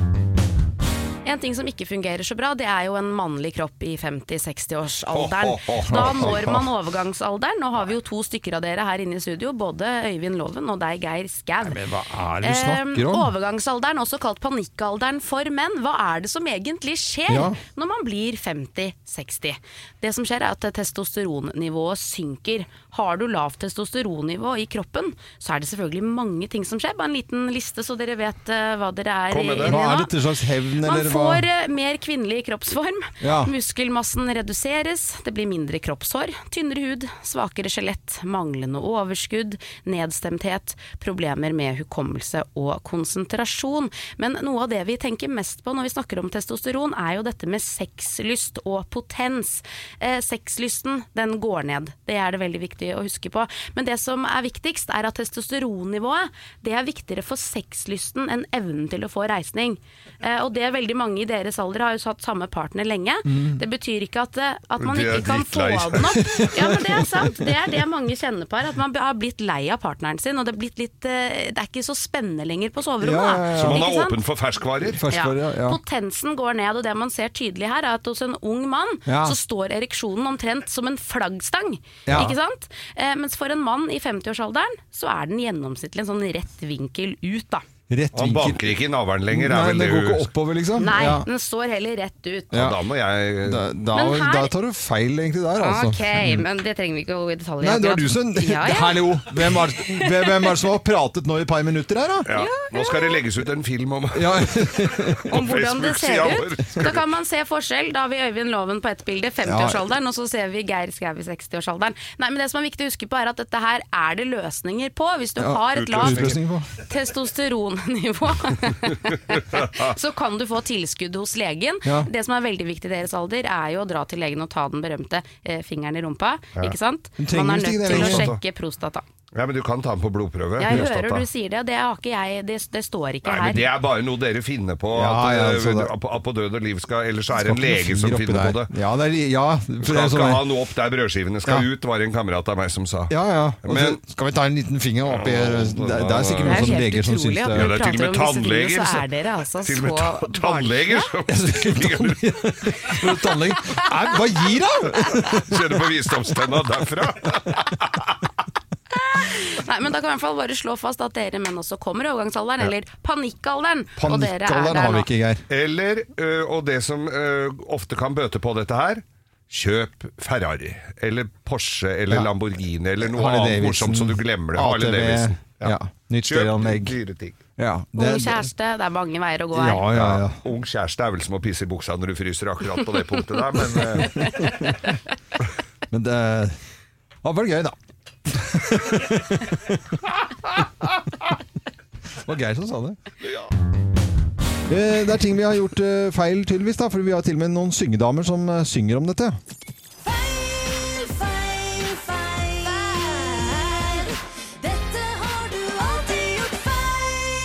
[SPEAKER 2] En ting som ikke fungerer så bra, det er jo en mannlig kropp i 50-60-årsalderen.
[SPEAKER 3] Ho, ho, ho, ho,
[SPEAKER 2] Da
[SPEAKER 3] ho,
[SPEAKER 2] når
[SPEAKER 3] ho.
[SPEAKER 2] man overgangsalderen. Nå har vi jo to stykker av dere her inne i studio, både Øyvind Loven og deg, Geir Skau.
[SPEAKER 1] Men hva er det du
[SPEAKER 2] Eh,
[SPEAKER 1] snakker om?
[SPEAKER 2] overgangsalderen, også kalt panikkalderen for menn. Hva er det som egentlig skjer
[SPEAKER 1] Ja.
[SPEAKER 2] når man blir 50-60? Det som skjer er at testosteronnivået synker. Har du lavt testosteronnivå i kroppen, så er det selvfølgelig mange ting som skjer. Bare en liten liste, så dere vet eh, hva dere er
[SPEAKER 3] Kom med det.
[SPEAKER 2] inne i
[SPEAKER 1] Hva
[SPEAKER 2] nå.
[SPEAKER 1] er dette slags hevn,
[SPEAKER 2] Man
[SPEAKER 1] eller hva?
[SPEAKER 2] får eh, mer kvinnelig kroppsform.
[SPEAKER 1] Ja.
[SPEAKER 2] Muskelmassen reduseres, det blir mindre kroppshår, tynnere hud, svakere skjelett, manglende overskudd, nedstemthet, problemer med hukommelse og konsentrasjon. Men noe av det vi tenker mest på når vi snakker om testosteron, er jo dette med sexlyst og potens. Eh, sexlysten, den går ned. Det er det veldig viktig å huske på. Men det som er viktigst, er at testosteronnivået det er viktigere for sexlysten enn evnen til å få reisning. Eh, og det er veldig mange i deres alder har jo hatt samme partner lenge.
[SPEAKER 1] Mm.
[SPEAKER 2] Det betyr ikke at, eh, at man
[SPEAKER 3] De er
[SPEAKER 2] ikke kan få
[SPEAKER 3] drittlei seg.
[SPEAKER 2] den opp. Ja, men Det er sant. Det er det mange kjenner på her. At man har blitt lei av partneren sin. Og det, er blitt litt, eh, det er ikke så spennende lenger på soverommet.
[SPEAKER 1] Ja,
[SPEAKER 2] da.
[SPEAKER 1] ja, ja.
[SPEAKER 3] Så man
[SPEAKER 2] Ikke
[SPEAKER 3] er
[SPEAKER 2] sant?
[SPEAKER 3] åpen for ferskvarer?
[SPEAKER 1] Ferskvare, ja. ja.
[SPEAKER 2] Potensen går ned, og det man ser tydelig her, er at hos en ung mann
[SPEAKER 1] Ja.
[SPEAKER 2] så står ereksjonen omtrent som en flaggstang.
[SPEAKER 1] Ja.
[SPEAKER 2] Ikke sant? Eh, mens for en mann i 50-årsalderen så er den gjennomsnittlig en sånn rett vinkel ut, da.
[SPEAKER 1] Rett
[SPEAKER 3] Han
[SPEAKER 1] vinkel.
[SPEAKER 3] banker ikke i navlen lenger,
[SPEAKER 1] Nei,
[SPEAKER 3] er vel
[SPEAKER 1] det
[SPEAKER 3] det
[SPEAKER 1] går ikke
[SPEAKER 3] hun
[SPEAKER 1] oppover, liksom?
[SPEAKER 2] Nei,
[SPEAKER 1] Ja.
[SPEAKER 2] den står heller rett ut.
[SPEAKER 3] Ja, Da må jeg
[SPEAKER 1] Da, da,
[SPEAKER 2] Men her-
[SPEAKER 1] da tar du feil egentlig der, altså.
[SPEAKER 2] Ok, men det trenger vi ikke å gå i detalj i.
[SPEAKER 1] Nei, det var
[SPEAKER 2] akkurat.
[SPEAKER 1] du som
[SPEAKER 2] ja, ja.
[SPEAKER 1] Hallo! Hvem er, hvem hvem er det som har pratet nå i et par minutter her, da?
[SPEAKER 3] ja. Nå skal det legges ut en film om
[SPEAKER 1] Ja,
[SPEAKER 2] Om hvordan det ser
[SPEAKER 3] Facebook-sida
[SPEAKER 2] ut. Da kan man se forskjell. Da har vi Øyvind Loven på ett bilde, 50-årsalderen, og så ser vi Geir Skau i 60-årsalderen. Nei, men Det som er viktig å huske på, er at dette her er det løsninger på. Hvis du har et lavt
[SPEAKER 1] utløsning på.
[SPEAKER 2] testosteronnivå, så kan du få tilskudd hos legen.
[SPEAKER 1] Ja.
[SPEAKER 2] Det som er veldig viktig i deres alder, er jo å dra til legen og ta den berømte eh, fingeren i rumpa. Ikke sant?
[SPEAKER 1] Du trenger
[SPEAKER 2] Man er
[SPEAKER 1] visst ikke
[SPEAKER 2] nødt
[SPEAKER 1] det
[SPEAKER 2] til å
[SPEAKER 1] lenger.
[SPEAKER 2] sjekke prostata.
[SPEAKER 3] Ja, men du kan ta den på blodprøve.
[SPEAKER 2] Jeg
[SPEAKER 3] prostata.
[SPEAKER 2] hører du sier det, og det har ikke jeg, det, det står ikke
[SPEAKER 3] Nei,
[SPEAKER 2] her.
[SPEAKER 3] men Det er bare noe dere finner på.
[SPEAKER 1] Ja, ja,
[SPEAKER 3] at, eh,
[SPEAKER 1] altså, det-
[SPEAKER 3] at på- at på død og liv skal Ellers er det
[SPEAKER 1] Skal
[SPEAKER 3] en
[SPEAKER 1] ikke
[SPEAKER 3] lege
[SPEAKER 1] noe
[SPEAKER 3] som
[SPEAKER 1] finger oppi
[SPEAKER 3] finner på
[SPEAKER 1] der.
[SPEAKER 3] det.
[SPEAKER 1] Ja, det er, ja, for det
[SPEAKER 3] Skal
[SPEAKER 1] er
[SPEAKER 3] ikke ha
[SPEAKER 1] sånn,
[SPEAKER 3] noe opp der brødskivene skal
[SPEAKER 1] Ja.
[SPEAKER 3] ut, var en kamerat av meg som sa.
[SPEAKER 1] ja, ja. Og så
[SPEAKER 3] Men-
[SPEAKER 1] skal vi ta en liten finger oppi Det det er sikkert
[SPEAKER 2] Det
[SPEAKER 1] noen
[SPEAKER 2] er jo
[SPEAKER 1] sånne
[SPEAKER 2] helt
[SPEAKER 1] leger som syns
[SPEAKER 2] utrolig
[SPEAKER 1] det
[SPEAKER 2] at
[SPEAKER 1] er
[SPEAKER 2] når
[SPEAKER 3] Ja, det
[SPEAKER 2] vi
[SPEAKER 3] er til og
[SPEAKER 2] prater om
[SPEAKER 3] med
[SPEAKER 2] disse
[SPEAKER 3] tannleger
[SPEAKER 2] tingene, så
[SPEAKER 3] som-
[SPEAKER 2] er dere altså
[SPEAKER 3] Til og med ta-
[SPEAKER 2] så
[SPEAKER 3] tannleger som
[SPEAKER 1] Går du til tannlegen? Nei, Hva gir han?!
[SPEAKER 3] kjenner på visdomstenna derfra.
[SPEAKER 2] Nei, men da kan vi i hvert fall bare slå fast at dere menn også kommer i overgangsalderen, eller panikkalderen. og dere er der
[SPEAKER 1] Panikkalderen har vi
[SPEAKER 2] nå.
[SPEAKER 1] ikke, Geir.
[SPEAKER 3] Eller, ø, og det som ø, ofte kan bøte på dette her Kjøp Ferrari, eller Porsche, eller
[SPEAKER 1] Ja.
[SPEAKER 3] Lamborghini, eller noe
[SPEAKER 1] Harley
[SPEAKER 3] annet
[SPEAKER 1] Davidson,
[SPEAKER 3] morsomt så du glemmer det. Harley
[SPEAKER 1] ATV,
[SPEAKER 3] Davidson.
[SPEAKER 1] ja, nytt stereoanlegg.
[SPEAKER 3] Kjøp dyre ting.
[SPEAKER 1] Ja,
[SPEAKER 2] Ung kjæreste, det er mange veier å gå her.
[SPEAKER 1] Ja, ja, ja.
[SPEAKER 3] Ung kjæreste er vel som å pisse i buksa når du fryser akkurat på det punktet der, men øh, ø,
[SPEAKER 1] Men det var vel gøy, da. Det var Geir som sa det.
[SPEAKER 3] ja.
[SPEAKER 1] Eh, Det er ting vi har gjort eh, feil, tydeligvis, da, for vi har til og med noen syngedamer som eh, synger om dette.
[SPEAKER 6] Feil, feil, feil. Dette har du alltid gjort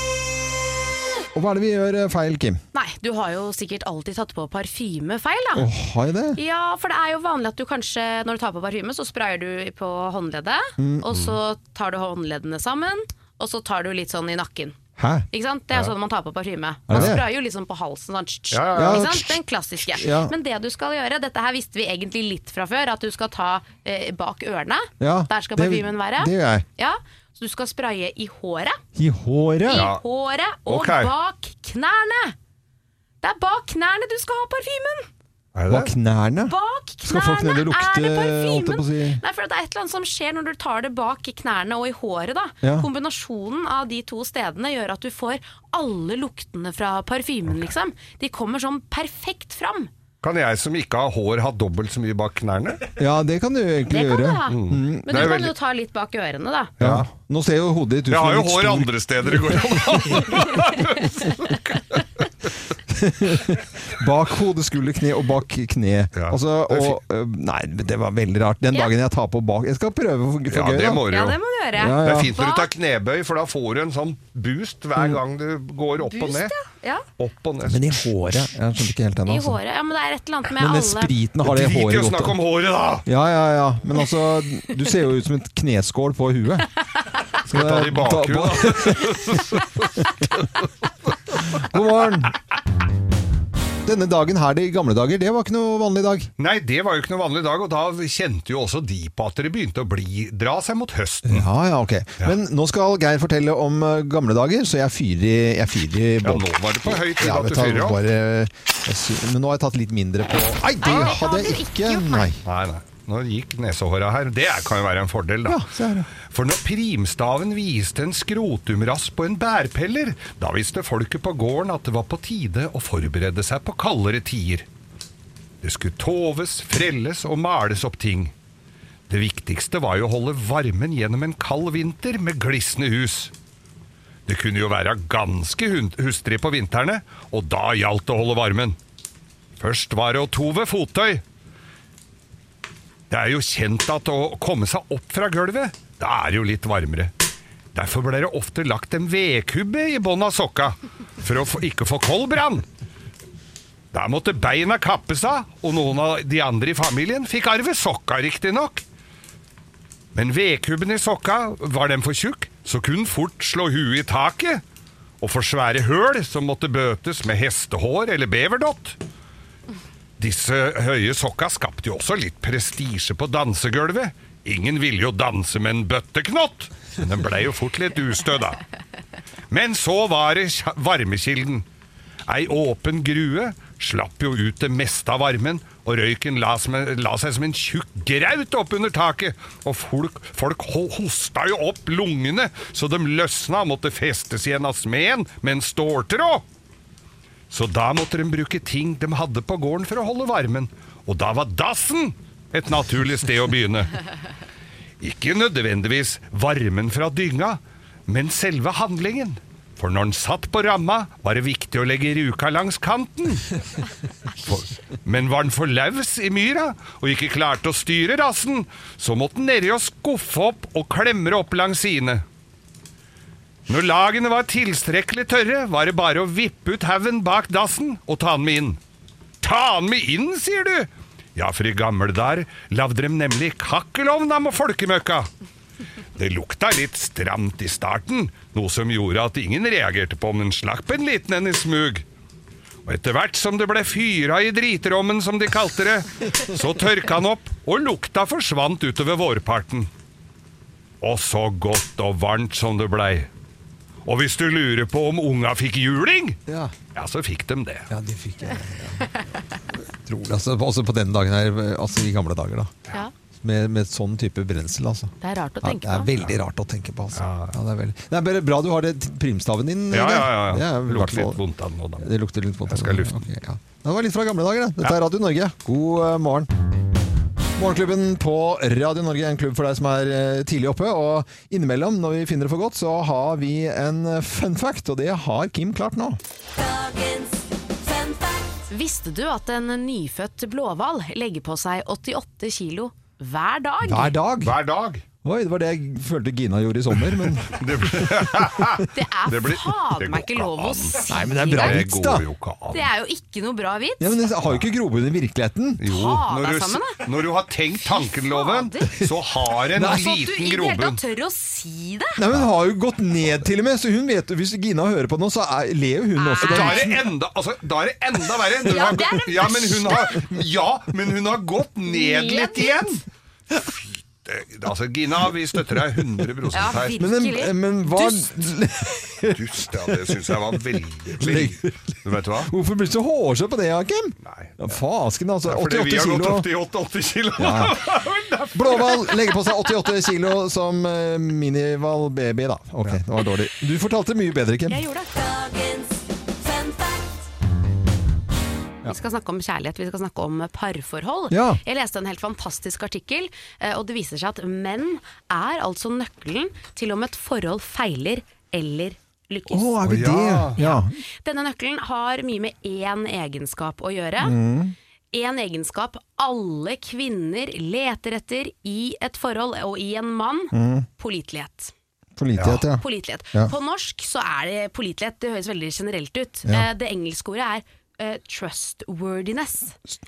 [SPEAKER 6] feil.
[SPEAKER 1] Og hva er det vi gjør eh, feil, Kim?
[SPEAKER 2] Nei, du har jo sikkert alltid tatt på parfymefeil, da.
[SPEAKER 1] Å, har jeg det?
[SPEAKER 2] Ja, for det er jo vanlig at du kanskje når du tar på parfyme, så sprayer du på håndleddet,
[SPEAKER 1] Mm,
[SPEAKER 2] og så tar du håndleddene sammen, og så tar du litt sånn i nakken.
[SPEAKER 1] Hæ?
[SPEAKER 2] Ikke sant? Det er sånn man tar på parfyme.
[SPEAKER 1] Er
[SPEAKER 2] Man
[SPEAKER 1] det det?
[SPEAKER 2] sprayer jo liksom på halsen. Sånn, tsk, tsk,
[SPEAKER 3] Ja, ja, ja.
[SPEAKER 2] Ikke sant? Den klassiske.
[SPEAKER 1] Ja.
[SPEAKER 2] Men det du skal gjøre, dette her visste vi egentlig litt fra før, at du skal ta eh, bak ørene.
[SPEAKER 1] Ja,
[SPEAKER 2] Der skal
[SPEAKER 1] det-
[SPEAKER 2] parfymen være.
[SPEAKER 1] det gjør jeg.
[SPEAKER 2] Ja, så du skal spraye i håret.
[SPEAKER 1] I håret?
[SPEAKER 2] I håret og
[SPEAKER 3] Ok.
[SPEAKER 2] bak knærne. Det er bak knærne du skal ha parfymen!
[SPEAKER 3] Er
[SPEAKER 1] Bak knærne?
[SPEAKER 2] Bak knærne
[SPEAKER 1] Skal folk ned og lukte,
[SPEAKER 2] er det
[SPEAKER 1] holdt jeg på
[SPEAKER 2] parfymen!
[SPEAKER 1] å si?
[SPEAKER 2] Nei, for det er et eller annet som skjer når du tar det bak knærne og i håret. da.
[SPEAKER 1] Ja.
[SPEAKER 2] Kombinasjonen av de to stedene gjør at du får alle luktene fra parfymen, liksom. De kommer sånn perfekt fram.
[SPEAKER 3] Kan jeg som ikke har hår, ha dobbelt så mye bak knærne?
[SPEAKER 1] Ja, det Mm. kan du
[SPEAKER 2] Det
[SPEAKER 1] egentlig
[SPEAKER 2] kan du
[SPEAKER 1] gjøre.
[SPEAKER 2] ha. Men
[SPEAKER 3] Det
[SPEAKER 2] du
[SPEAKER 3] er
[SPEAKER 2] kan
[SPEAKER 3] veldig-
[SPEAKER 2] jo ta litt bak ørene, da.
[SPEAKER 1] Ja. Nå ser jo hodet ditt ut
[SPEAKER 3] Jeg
[SPEAKER 1] som
[SPEAKER 3] har
[SPEAKER 1] en
[SPEAKER 3] jo
[SPEAKER 1] litt
[SPEAKER 3] hår
[SPEAKER 1] stor
[SPEAKER 3] andre steder det går an.
[SPEAKER 1] Bak hode, skulder, kne og bak kne.
[SPEAKER 3] Ja,
[SPEAKER 1] altså,
[SPEAKER 3] det er
[SPEAKER 1] og, øh, nei, det var veldig rart. Den
[SPEAKER 2] Ja.
[SPEAKER 1] dagen jeg tar på bak Jeg skal prøve for, for
[SPEAKER 3] Ja,
[SPEAKER 1] gøy,
[SPEAKER 3] det
[SPEAKER 1] da.
[SPEAKER 3] må du
[SPEAKER 2] Ja,
[SPEAKER 3] jo.
[SPEAKER 2] det må du gjøre.
[SPEAKER 1] Ja,
[SPEAKER 3] Det
[SPEAKER 1] ja.
[SPEAKER 3] er fint når du tar
[SPEAKER 2] Bak-
[SPEAKER 3] knebøy, for da får du en sånn boost hver gang du går opp og
[SPEAKER 2] Boost,
[SPEAKER 3] ned.
[SPEAKER 2] ja.
[SPEAKER 3] Opp og ned.
[SPEAKER 1] Men i håret Jeg skjønte ikke helt
[SPEAKER 2] I
[SPEAKER 1] ennå. Altså.
[SPEAKER 2] håret. Ja, men det er et eller annet med
[SPEAKER 1] Men den
[SPEAKER 2] alle
[SPEAKER 1] spriten har det
[SPEAKER 3] Drit i å
[SPEAKER 1] håret
[SPEAKER 3] snakke
[SPEAKER 1] godt
[SPEAKER 3] om håret, da!
[SPEAKER 1] Ja, ja, ja. Men altså, du ser jo ut som et kneskål på huet. Skal
[SPEAKER 3] Ta det i bakhuet, da.
[SPEAKER 1] God morgen! Denne dagen her i gamle dager, det var ikke noe vanlig dag.
[SPEAKER 3] Nei, det var jo ikke noe vanlig dag, og da kjente jo også de på at det begynte å bli, dra seg mot høsten.
[SPEAKER 1] Ja, ja, ok. Men nå skal Geir fortelle om eh, gamle dager, så jeg fyrer i, jeg fyrer i
[SPEAKER 3] Ja,
[SPEAKER 1] bånn.
[SPEAKER 3] nå var det på høy tid
[SPEAKER 1] Ja,
[SPEAKER 3] at
[SPEAKER 1] vet
[SPEAKER 3] du
[SPEAKER 1] du,
[SPEAKER 3] fyrer opp.
[SPEAKER 1] bare, jeg sy men nå har jeg tatt litt mindre på Nei, det
[SPEAKER 2] Nei, det
[SPEAKER 1] hadde jeg ikke. Nei.
[SPEAKER 3] Nei, nei. Nå gikk nesehåra her. Det er- kan jo være en fordel, da.
[SPEAKER 1] Ja, se her, ja.
[SPEAKER 3] For når primstaven viste en skrotumrass på en bærpeller, da visste folket på gården at det var på tide å forberede seg på kaldere tider. Det skulle toves, frelles og males opp ting. Det viktigste var jo å holde varmen gjennom en kald vinter med glisne hus. Det kunne jo være ganske hun- hustrig på vintrene, og da gjaldt det å holde varmen. Først var det å tove fottøy. Det er jo kjent at å komme seg opp fra gulvet, da er det jo litt varmere. Derfor ble det ofte lagt en vedkubbe i bånn av sokka, for å få, ikke få koldbrann. Der måtte beina kappes av, og noen av de andre i familien fikk arve sokka, riktignok. Men vedkubben i sokka, var den for tjukk, så kunne den fort slå huet i taket, og for svære høl som måtte bøtes med hestehår eller beverdott. Disse høye sokka skapte jo også litt prestisje på dansegulvet. Ingen ville jo danse med en bøtteknott, men den blei jo fort litt ustø, da. Men så var det kja- varmekilden. Ei åpen grue slapp jo ut det meste av varmen, og røyken la, som en, la seg som en tjukk graut oppunder taket, og folk, folk ho- hosta jo opp lungene, så de løsna og måtte festes igjen av smeden med en ståltråd. Så da måtte de bruke ting de hadde på gården for å holde varmen. Og da var dassen et naturlig sted å begynne. Ikke nødvendigvis varmen fra dynga, men selve handlingen. For når den satt på ramma, var det viktig å legge ruka langs kanten. For, men var den for laus i myra og ikke klarte å styre rassen, så måtte den nedi og skuffe opp og klemre opp langs sidene. Når lagene var tilstrekkelig tørre, var det bare å vippe ut haugen bak dassen og ta den med inn. Ta den med inn, sier du? Ja, for i gamle dager lagde de nemlig kakkelovna med folkemøkka. Det lukta litt stramt i starten, noe som gjorde at ingen reagerte på om den slapp en liten en i smug. Og etter hvert som det ble fyra i dritrommen, som de kalte det, så tørka han opp, og lukta forsvant utover vårparten. Og så godt og varmt som det blei. Og hvis du lurer på om unga fikk juling,
[SPEAKER 1] Ja.
[SPEAKER 3] ja, så fikk de det.
[SPEAKER 1] ja, det fikk jeg. Ja. Utrolig, altså, også på den dagen her, altså i gamle dager, da.
[SPEAKER 2] Ja,
[SPEAKER 1] Med, med sånn type brensel, altså.
[SPEAKER 2] det er rart å
[SPEAKER 1] Ja, det
[SPEAKER 2] tenke
[SPEAKER 1] er
[SPEAKER 2] på.
[SPEAKER 1] veldig rart å tenke på, altså. Ja, det, er veldig... det er bare bra du har det til primstaven din.
[SPEAKER 3] Ja,
[SPEAKER 1] Geir.
[SPEAKER 3] ja, ja.
[SPEAKER 1] Det
[SPEAKER 3] ja.
[SPEAKER 1] er i hvert
[SPEAKER 3] Lukter
[SPEAKER 1] fall-
[SPEAKER 3] litt vondt av den nå, da.
[SPEAKER 1] Det lukter litt vondt.
[SPEAKER 3] Jeg skal lufte.
[SPEAKER 1] Ok, ja. Det var litt fra gamle dager, det. Dette er Radio Norge. God eh, morgen. Morgenklubben på Radio Norge er en klubb for deg som er eh, tidlig oppe. Og innimellom, når vi finner det for godt, så har vi en eh, fun fact, og det har Kim klart nå.
[SPEAKER 6] Dagens fun fact.
[SPEAKER 2] Visste du at en nyfødt blåhval legger på seg 88 kilo hver dag?
[SPEAKER 1] Hver dag.
[SPEAKER 3] Hver dag.
[SPEAKER 1] Oi, det var det jeg følte Gina gjorde i sommer, men
[SPEAKER 3] Det,
[SPEAKER 2] Det er
[SPEAKER 3] Det blir- det
[SPEAKER 2] faen meg
[SPEAKER 3] går
[SPEAKER 2] ikke lov å
[SPEAKER 3] an.
[SPEAKER 2] si!
[SPEAKER 1] Nei, men det er bra
[SPEAKER 2] det.
[SPEAKER 3] det
[SPEAKER 1] vits, da.
[SPEAKER 3] går jo ikke an.
[SPEAKER 2] Det er jo ikke noe bra vits.
[SPEAKER 1] Ja, men det har jo ikke grobunn i virkeligheten.
[SPEAKER 3] Jo,
[SPEAKER 2] Ta
[SPEAKER 3] når
[SPEAKER 2] deg
[SPEAKER 3] du,
[SPEAKER 2] sammen, da.
[SPEAKER 3] s- når du har tenkt tankenloven,
[SPEAKER 2] fader.
[SPEAKER 3] så har en
[SPEAKER 2] altså, at du
[SPEAKER 3] liten
[SPEAKER 2] i det hele
[SPEAKER 3] grobunn.
[SPEAKER 2] tatt tør å si det!
[SPEAKER 1] Nei, men Hun har jo gått ned til og med, så hun vet, hvis Gina hører på nå, så er, ler jo hun også.
[SPEAKER 3] Da er
[SPEAKER 1] Det
[SPEAKER 3] det enda, altså, da er det enda verre. Du
[SPEAKER 2] Ja,
[SPEAKER 3] har
[SPEAKER 2] det er
[SPEAKER 3] gått-
[SPEAKER 2] det
[SPEAKER 3] ja, men hun har, ja, men hun har gått ned
[SPEAKER 2] Ned
[SPEAKER 3] litt
[SPEAKER 2] litt.
[SPEAKER 3] igjen. Fy, det- Altså, Gina, vi støtter deg 100
[SPEAKER 2] Ja,
[SPEAKER 3] her.
[SPEAKER 2] virkelig.
[SPEAKER 1] men, men, men hva
[SPEAKER 3] Dust, ja, det syns jeg var veldig, veldig Du vet hva?
[SPEAKER 1] Hvorfor blir du så hårsår på det, Kim?
[SPEAKER 3] Nei.
[SPEAKER 1] Ja, fasken, altså.
[SPEAKER 3] Fordi
[SPEAKER 1] 88
[SPEAKER 3] vi har gått
[SPEAKER 1] kilo.
[SPEAKER 3] opp til 88 kilo.
[SPEAKER 1] Blåhval legger på seg 88 kilo som eh, minihval baby, da. Ok, det var dårlig. Du fortalte mye bedre, Kim.
[SPEAKER 2] Jeg gjorde det.
[SPEAKER 6] Dagens fun fact.
[SPEAKER 2] Vi skal snakke om kjærlighet, vi skal snakke om parforhold.
[SPEAKER 1] Ja.
[SPEAKER 2] Jeg leste en helt fantastisk artikkel, eh, og det viser seg at menn er altså nøkkelen til om et forhold feiler eller lykkes.
[SPEAKER 1] Å, er vi
[SPEAKER 3] Å, ja.
[SPEAKER 1] det? Ja.
[SPEAKER 2] Denne nøkkelen har mye med én egenskap å gjøre. Én egenskap alle kvinner leter etter i et forhold og i en mann. Pålitelighet.
[SPEAKER 1] Pålitelighet, ja.
[SPEAKER 2] Pålitelighet.
[SPEAKER 1] Ja.
[SPEAKER 2] På norsk så er det pålitelighet, det høres veldig generelt ut. Eh, Det engelske ordet er eh, trustworthiness.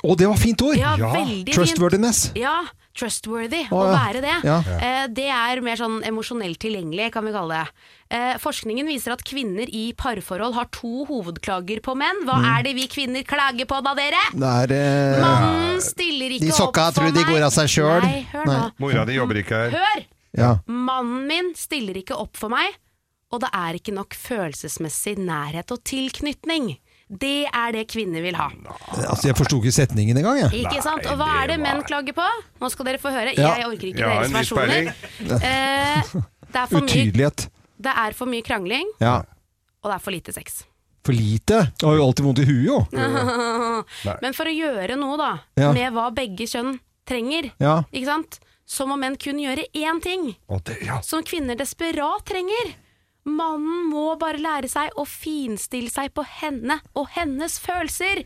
[SPEAKER 1] Å, det var fint ord!
[SPEAKER 2] Ja, veldig fint.
[SPEAKER 1] Trustworthiness.
[SPEAKER 2] Ja, trustworthy.
[SPEAKER 1] Å,
[SPEAKER 2] Å
[SPEAKER 1] ja.
[SPEAKER 2] være det.
[SPEAKER 1] Ja.
[SPEAKER 2] Eh, det er mer sånn emosjonelt tilgjengelig, kan vi kalle det. Eh, forskningen viser at kvinner i parforhold har to hovedklager på menn. Hva
[SPEAKER 1] Mm.
[SPEAKER 2] er det vi kvinner klager på da, dere?
[SPEAKER 1] Det er eh,
[SPEAKER 2] Mannen stiller ikke
[SPEAKER 1] De sokka
[SPEAKER 2] opp for
[SPEAKER 1] tror
[SPEAKER 2] meg.
[SPEAKER 1] de går av seg sjøl.
[SPEAKER 2] Nei, hør nå.
[SPEAKER 3] Mora di jobber ikke her.
[SPEAKER 2] Hør!
[SPEAKER 1] ja.
[SPEAKER 2] Mannen min stiller ikke opp for meg, og det er ikke nok følelsesmessig nærhet og tilknytning. Det er det kvinner vil ha.
[SPEAKER 1] Altså, jeg forsto ikke setningen engang, jeg.
[SPEAKER 2] Ikke sant? Og hva
[SPEAKER 3] det
[SPEAKER 2] er det menn
[SPEAKER 3] var-
[SPEAKER 2] klager på? Nå skal dere få høre.
[SPEAKER 1] Ja.
[SPEAKER 2] Jeg orker ikke
[SPEAKER 3] Ja, en
[SPEAKER 2] deres
[SPEAKER 3] viss
[SPEAKER 2] versjoner. Eh, det, er for mye,
[SPEAKER 1] Utydelighet.
[SPEAKER 2] det er for mye krangling,
[SPEAKER 1] Ja.
[SPEAKER 2] og det er for lite sex.
[SPEAKER 1] For lite. Du har jo alltid vondt i huet, jo.
[SPEAKER 2] Men for å gjøre noe, da,
[SPEAKER 1] Ja.
[SPEAKER 2] med hva begge kjønn trenger,
[SPEAKER 1] Ja.
[SPEAKER 2] ikke sant? så må menn kun gjøre én ting
[SPEAKER 3] Å, det, ja.
[SPEAKER 2] som kvinner desperat trenger. Mannen må bare lære seg å finstille seg på henne og hennes følelser.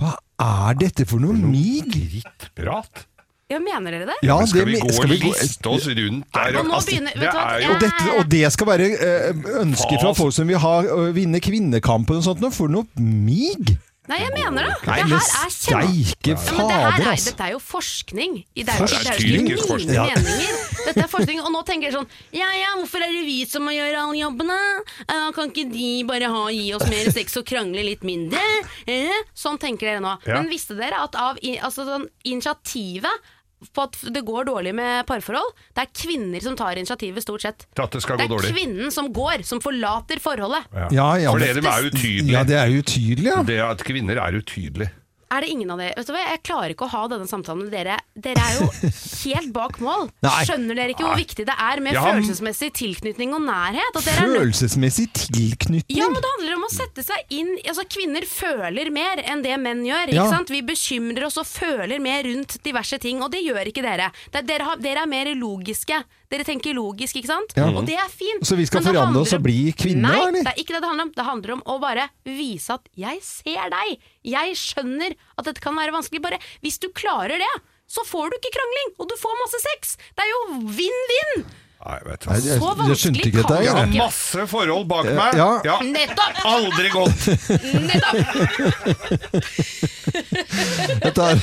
[SPEAKER 1] Hva er dette for noe mig?
[SPEAKER 3] Drittprat.
[SPEAKER 2] Ja, mener dere det?
[SPEAKER 1] Ja,
[SPEAKER 3] Men skal
[SPEAKER 1] det
[SPEAKER 3] vi
[SPEAKER 1] men-
[SPEAKER 3] gå
[SPEAKER 1] skal vi
[SPEAKER 3] og
[SPEAKER 1] gå-
[SPEAKER 3] liste oss rundt der?
[SPEAKER 2] Og nå
[SPEAKER 3] Altså,
[SPEAKER 2] begynner- vet
[SPEAKER 3] det
[SPEAKER 2] du hva,
[SPEAKER 3] er jo
[SPEAKER 1] Og, dette, og det skal være eh, ønsker fra
[SPEAKER 3] Fas.
[SPEAKER 1] folk som vil ha, ø, vinne kvinnekampen og sånt. Nå får du noe mig!
[SPEAKER 2] Nei, jeg mener det!
[SPEAKER 1] Nei,
[SPEAKER 2] det
[SPEAKER 1] men
[SPEAKER 2] her er kjempe...
[SPEAKER 1] steike
[SPEAKER 2] Ja, men det her
[SPEAKER 1] fader,
[SPEAKER 2] er,
[SPEAKER 1] altså.
[SPEAKER 2] dette er jo forskning. I det, er-
[SPEAKER 1] Forskning?
[SPEAKER 2] Det er jo ikke
[SPEAKER 3] Klinisk
[SPEAKER 2] mine
[SPEAKER 3] forskning.
[SPEAKER 1] Ja.
[SPEAKER 2] meninger. Dette er forskning, og nå tenker jeg sånn Ja ja, hvorfor er det vi som må gjøre alle jobbene? Eh, kan ikke de bare ha, gi oss mer sex og krangle litt mindre? Eh? Sånn tenker dere nå.
[SPEAKER 3] Ja.
[SPEAKER 2] Men visste dere at av i- altså, sånn, initiativet på at det går dårlig med parforhold, det er kvinner som tar initiativet stort sett.
[SPEAKER 3] Til at det skal
[SPEAKER 2] Det er
[SPEAKER 3] gå dårlig.
[SPEAKER 2] kvinnen som går, som forlater forholdet.
[SPEAKER 1] Ja, ja,
[SPEAKER 3] For
[SPEAKER 1] men-
[SPEAKER 3] dere er utydelige.
[SPEAKER 1] Ja, det er jo tydelig, ja.
[SPEAKER 3] Det at kvinner er utydelige.
[SPEAKER 2] Er det ingen av dere Vet du hva, jeg klarer ikke å ha denne samtalen med dere. Dere er jo helt bak mål.
[SPEAKER 1] Nei.
[SPEAKER 2] Skjønner dere ikke hvor viktig det er med
[SPEAKER 3] Ja, men-
[SPEAKER 2] følelsesmessig tilknytning og nærhet? At dere er nødt
[SPEAKER 1] Følelsesmessig tilknytning.
[SPEAKER 2] ja, men Det handler om å sette seg inn altså Kvinner føler mer enn det menn gjør.
[SPEAKER 1] Ja.
[SPEAKER 2] Ikke sant? Vi bekymrer oss og føler mer rundt diverse ting, og det gjør ikke dere. Det, er- dere, har, dere er mer logiske. Dere tenker logisk, ikke sant? Og det er fint.
[SPEAKER 1] Så vi skal
[SPEAKER 2] men det
[SPEAKER 1] forandre oss
[SPEAKER 2] handler
[SPEAKER 1] og
[SPEAKER 2] om-
[SPEAKER 1] bli kvinner,
[SPEAKER 2] Nei,
[SPEAKER 1] eller?
[SPEAKER 2] det er ikke det det handler om. Det handler om å bare vise at 'jeg ser deg', 'jeg skjønner at dette kan være vanskelig'. Bare hvis du klarer det, så får du ikke krangling, og du får masse sex. Det er jo vinn-vinn!
[SPEAKER 3] Nei, vet du
[SPEAKER 1] Nei,
[SPEAKER 3] hva.
[SPEAKER 1] jeg,
[SPEAKER 2] Så
[SPEAKER 1] jeg skjønte ikke dette.
[SPEAKER 2] vanskelig
[SPEAKER 3] Jeg
[SPEAKER 1] Jeg.
[SPEAKER 3] har
[SPEAKER 2] Ja.
[SPEAKER 3] masse forhold bak meg.
[SPEAKER 1] ja.
[SPEAKER 3] Ja.
[SPEAKER 2] Nettopp!
[SPEAKER 3] Aldri gått.
[SPEAKER 2] Nettopp!
[SPEAKER 1] Dette er,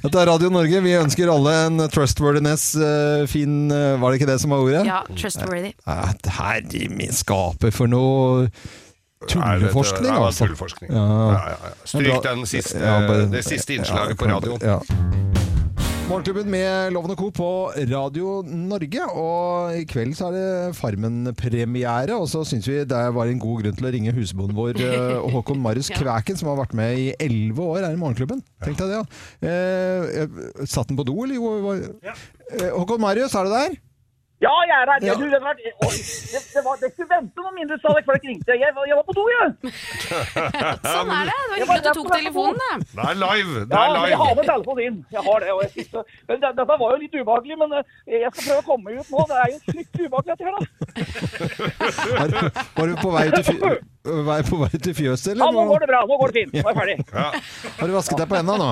[SPEAKER 1] dette er Radio Norge. Vi ønsker alle en trustworthiness eh, fin eh, Var det ikke det som var ordet?
[SPEAKER 2] Ja, trustworthy.
[SPEAKER 1] Eh, Herre min skaper for noe tulleforskning,
[SPEAKER 3] Nei, det var
[SPEAKER 1] altså.
[SPEAKER 3] Tulleforskning.
[SPEAKER 1] Ja.
[SPEAKER 3] Ja. Ja, ja. Stryk
[SPEAKER 1] Bra.
[SPEAKER 3] den siste,
[SPEAKER 1] Ja, bare-
[SPEAKER 3] det siste innslaget på radioen.
[SPEAKER 1] Ja. Morgenklubben med Loven og Co. på Radio Norge. Og i kveld så er det Farmen-premiere. Og så syns vi det var en god grunn til å ringe husbonden vår eh, Håkon Marius Kvæken, som har vært med i elleve år her i Morgenklubben. Tenk deg det, ja. Eh, satt den på do, eller? Jo, hva- Eh, Håkon Marius, Eh, er du der?
[SPEAKER 4] Ja, jeg er her.
[SPEAKER 1] Ja.
[SPEAKER 4] Du, det, var, oi, det, det, var, det skulle vente noen minutter, sa det, for folk ringte. Jeg, jeg var på do, jeg.
[SPEAKER 2] Sånn er det. Det var hyggelig at du tok telefonen, da.
[SPEAKER 3] Det er live! Det
[SPEAKER 4] Ja,
[SPEAKER 3] er
[SPEAKER 4] men jeg har
[SPEAKER 3] live!
[SPEAKER 4] med telefonen inn. Jeg har det, og jeg synes, det- men det, Dette var jo litt ubehagelig, men eh, jeg skal prøve å komme meg ut nå. Det er jo fryktelig ubehagelig dette her, da.
[SPEAKER 1] Var, du- var du på vei til, fj vei på vei til fjøset,
[SPEAKER 4] Ja,
[SPEAKER 1] eller?
[SPEAKER 4] nå går det bra. Nå går det fint. Nå er jeg ferdig.
[SPEAKER 1] Har du vasket deg på enda nå?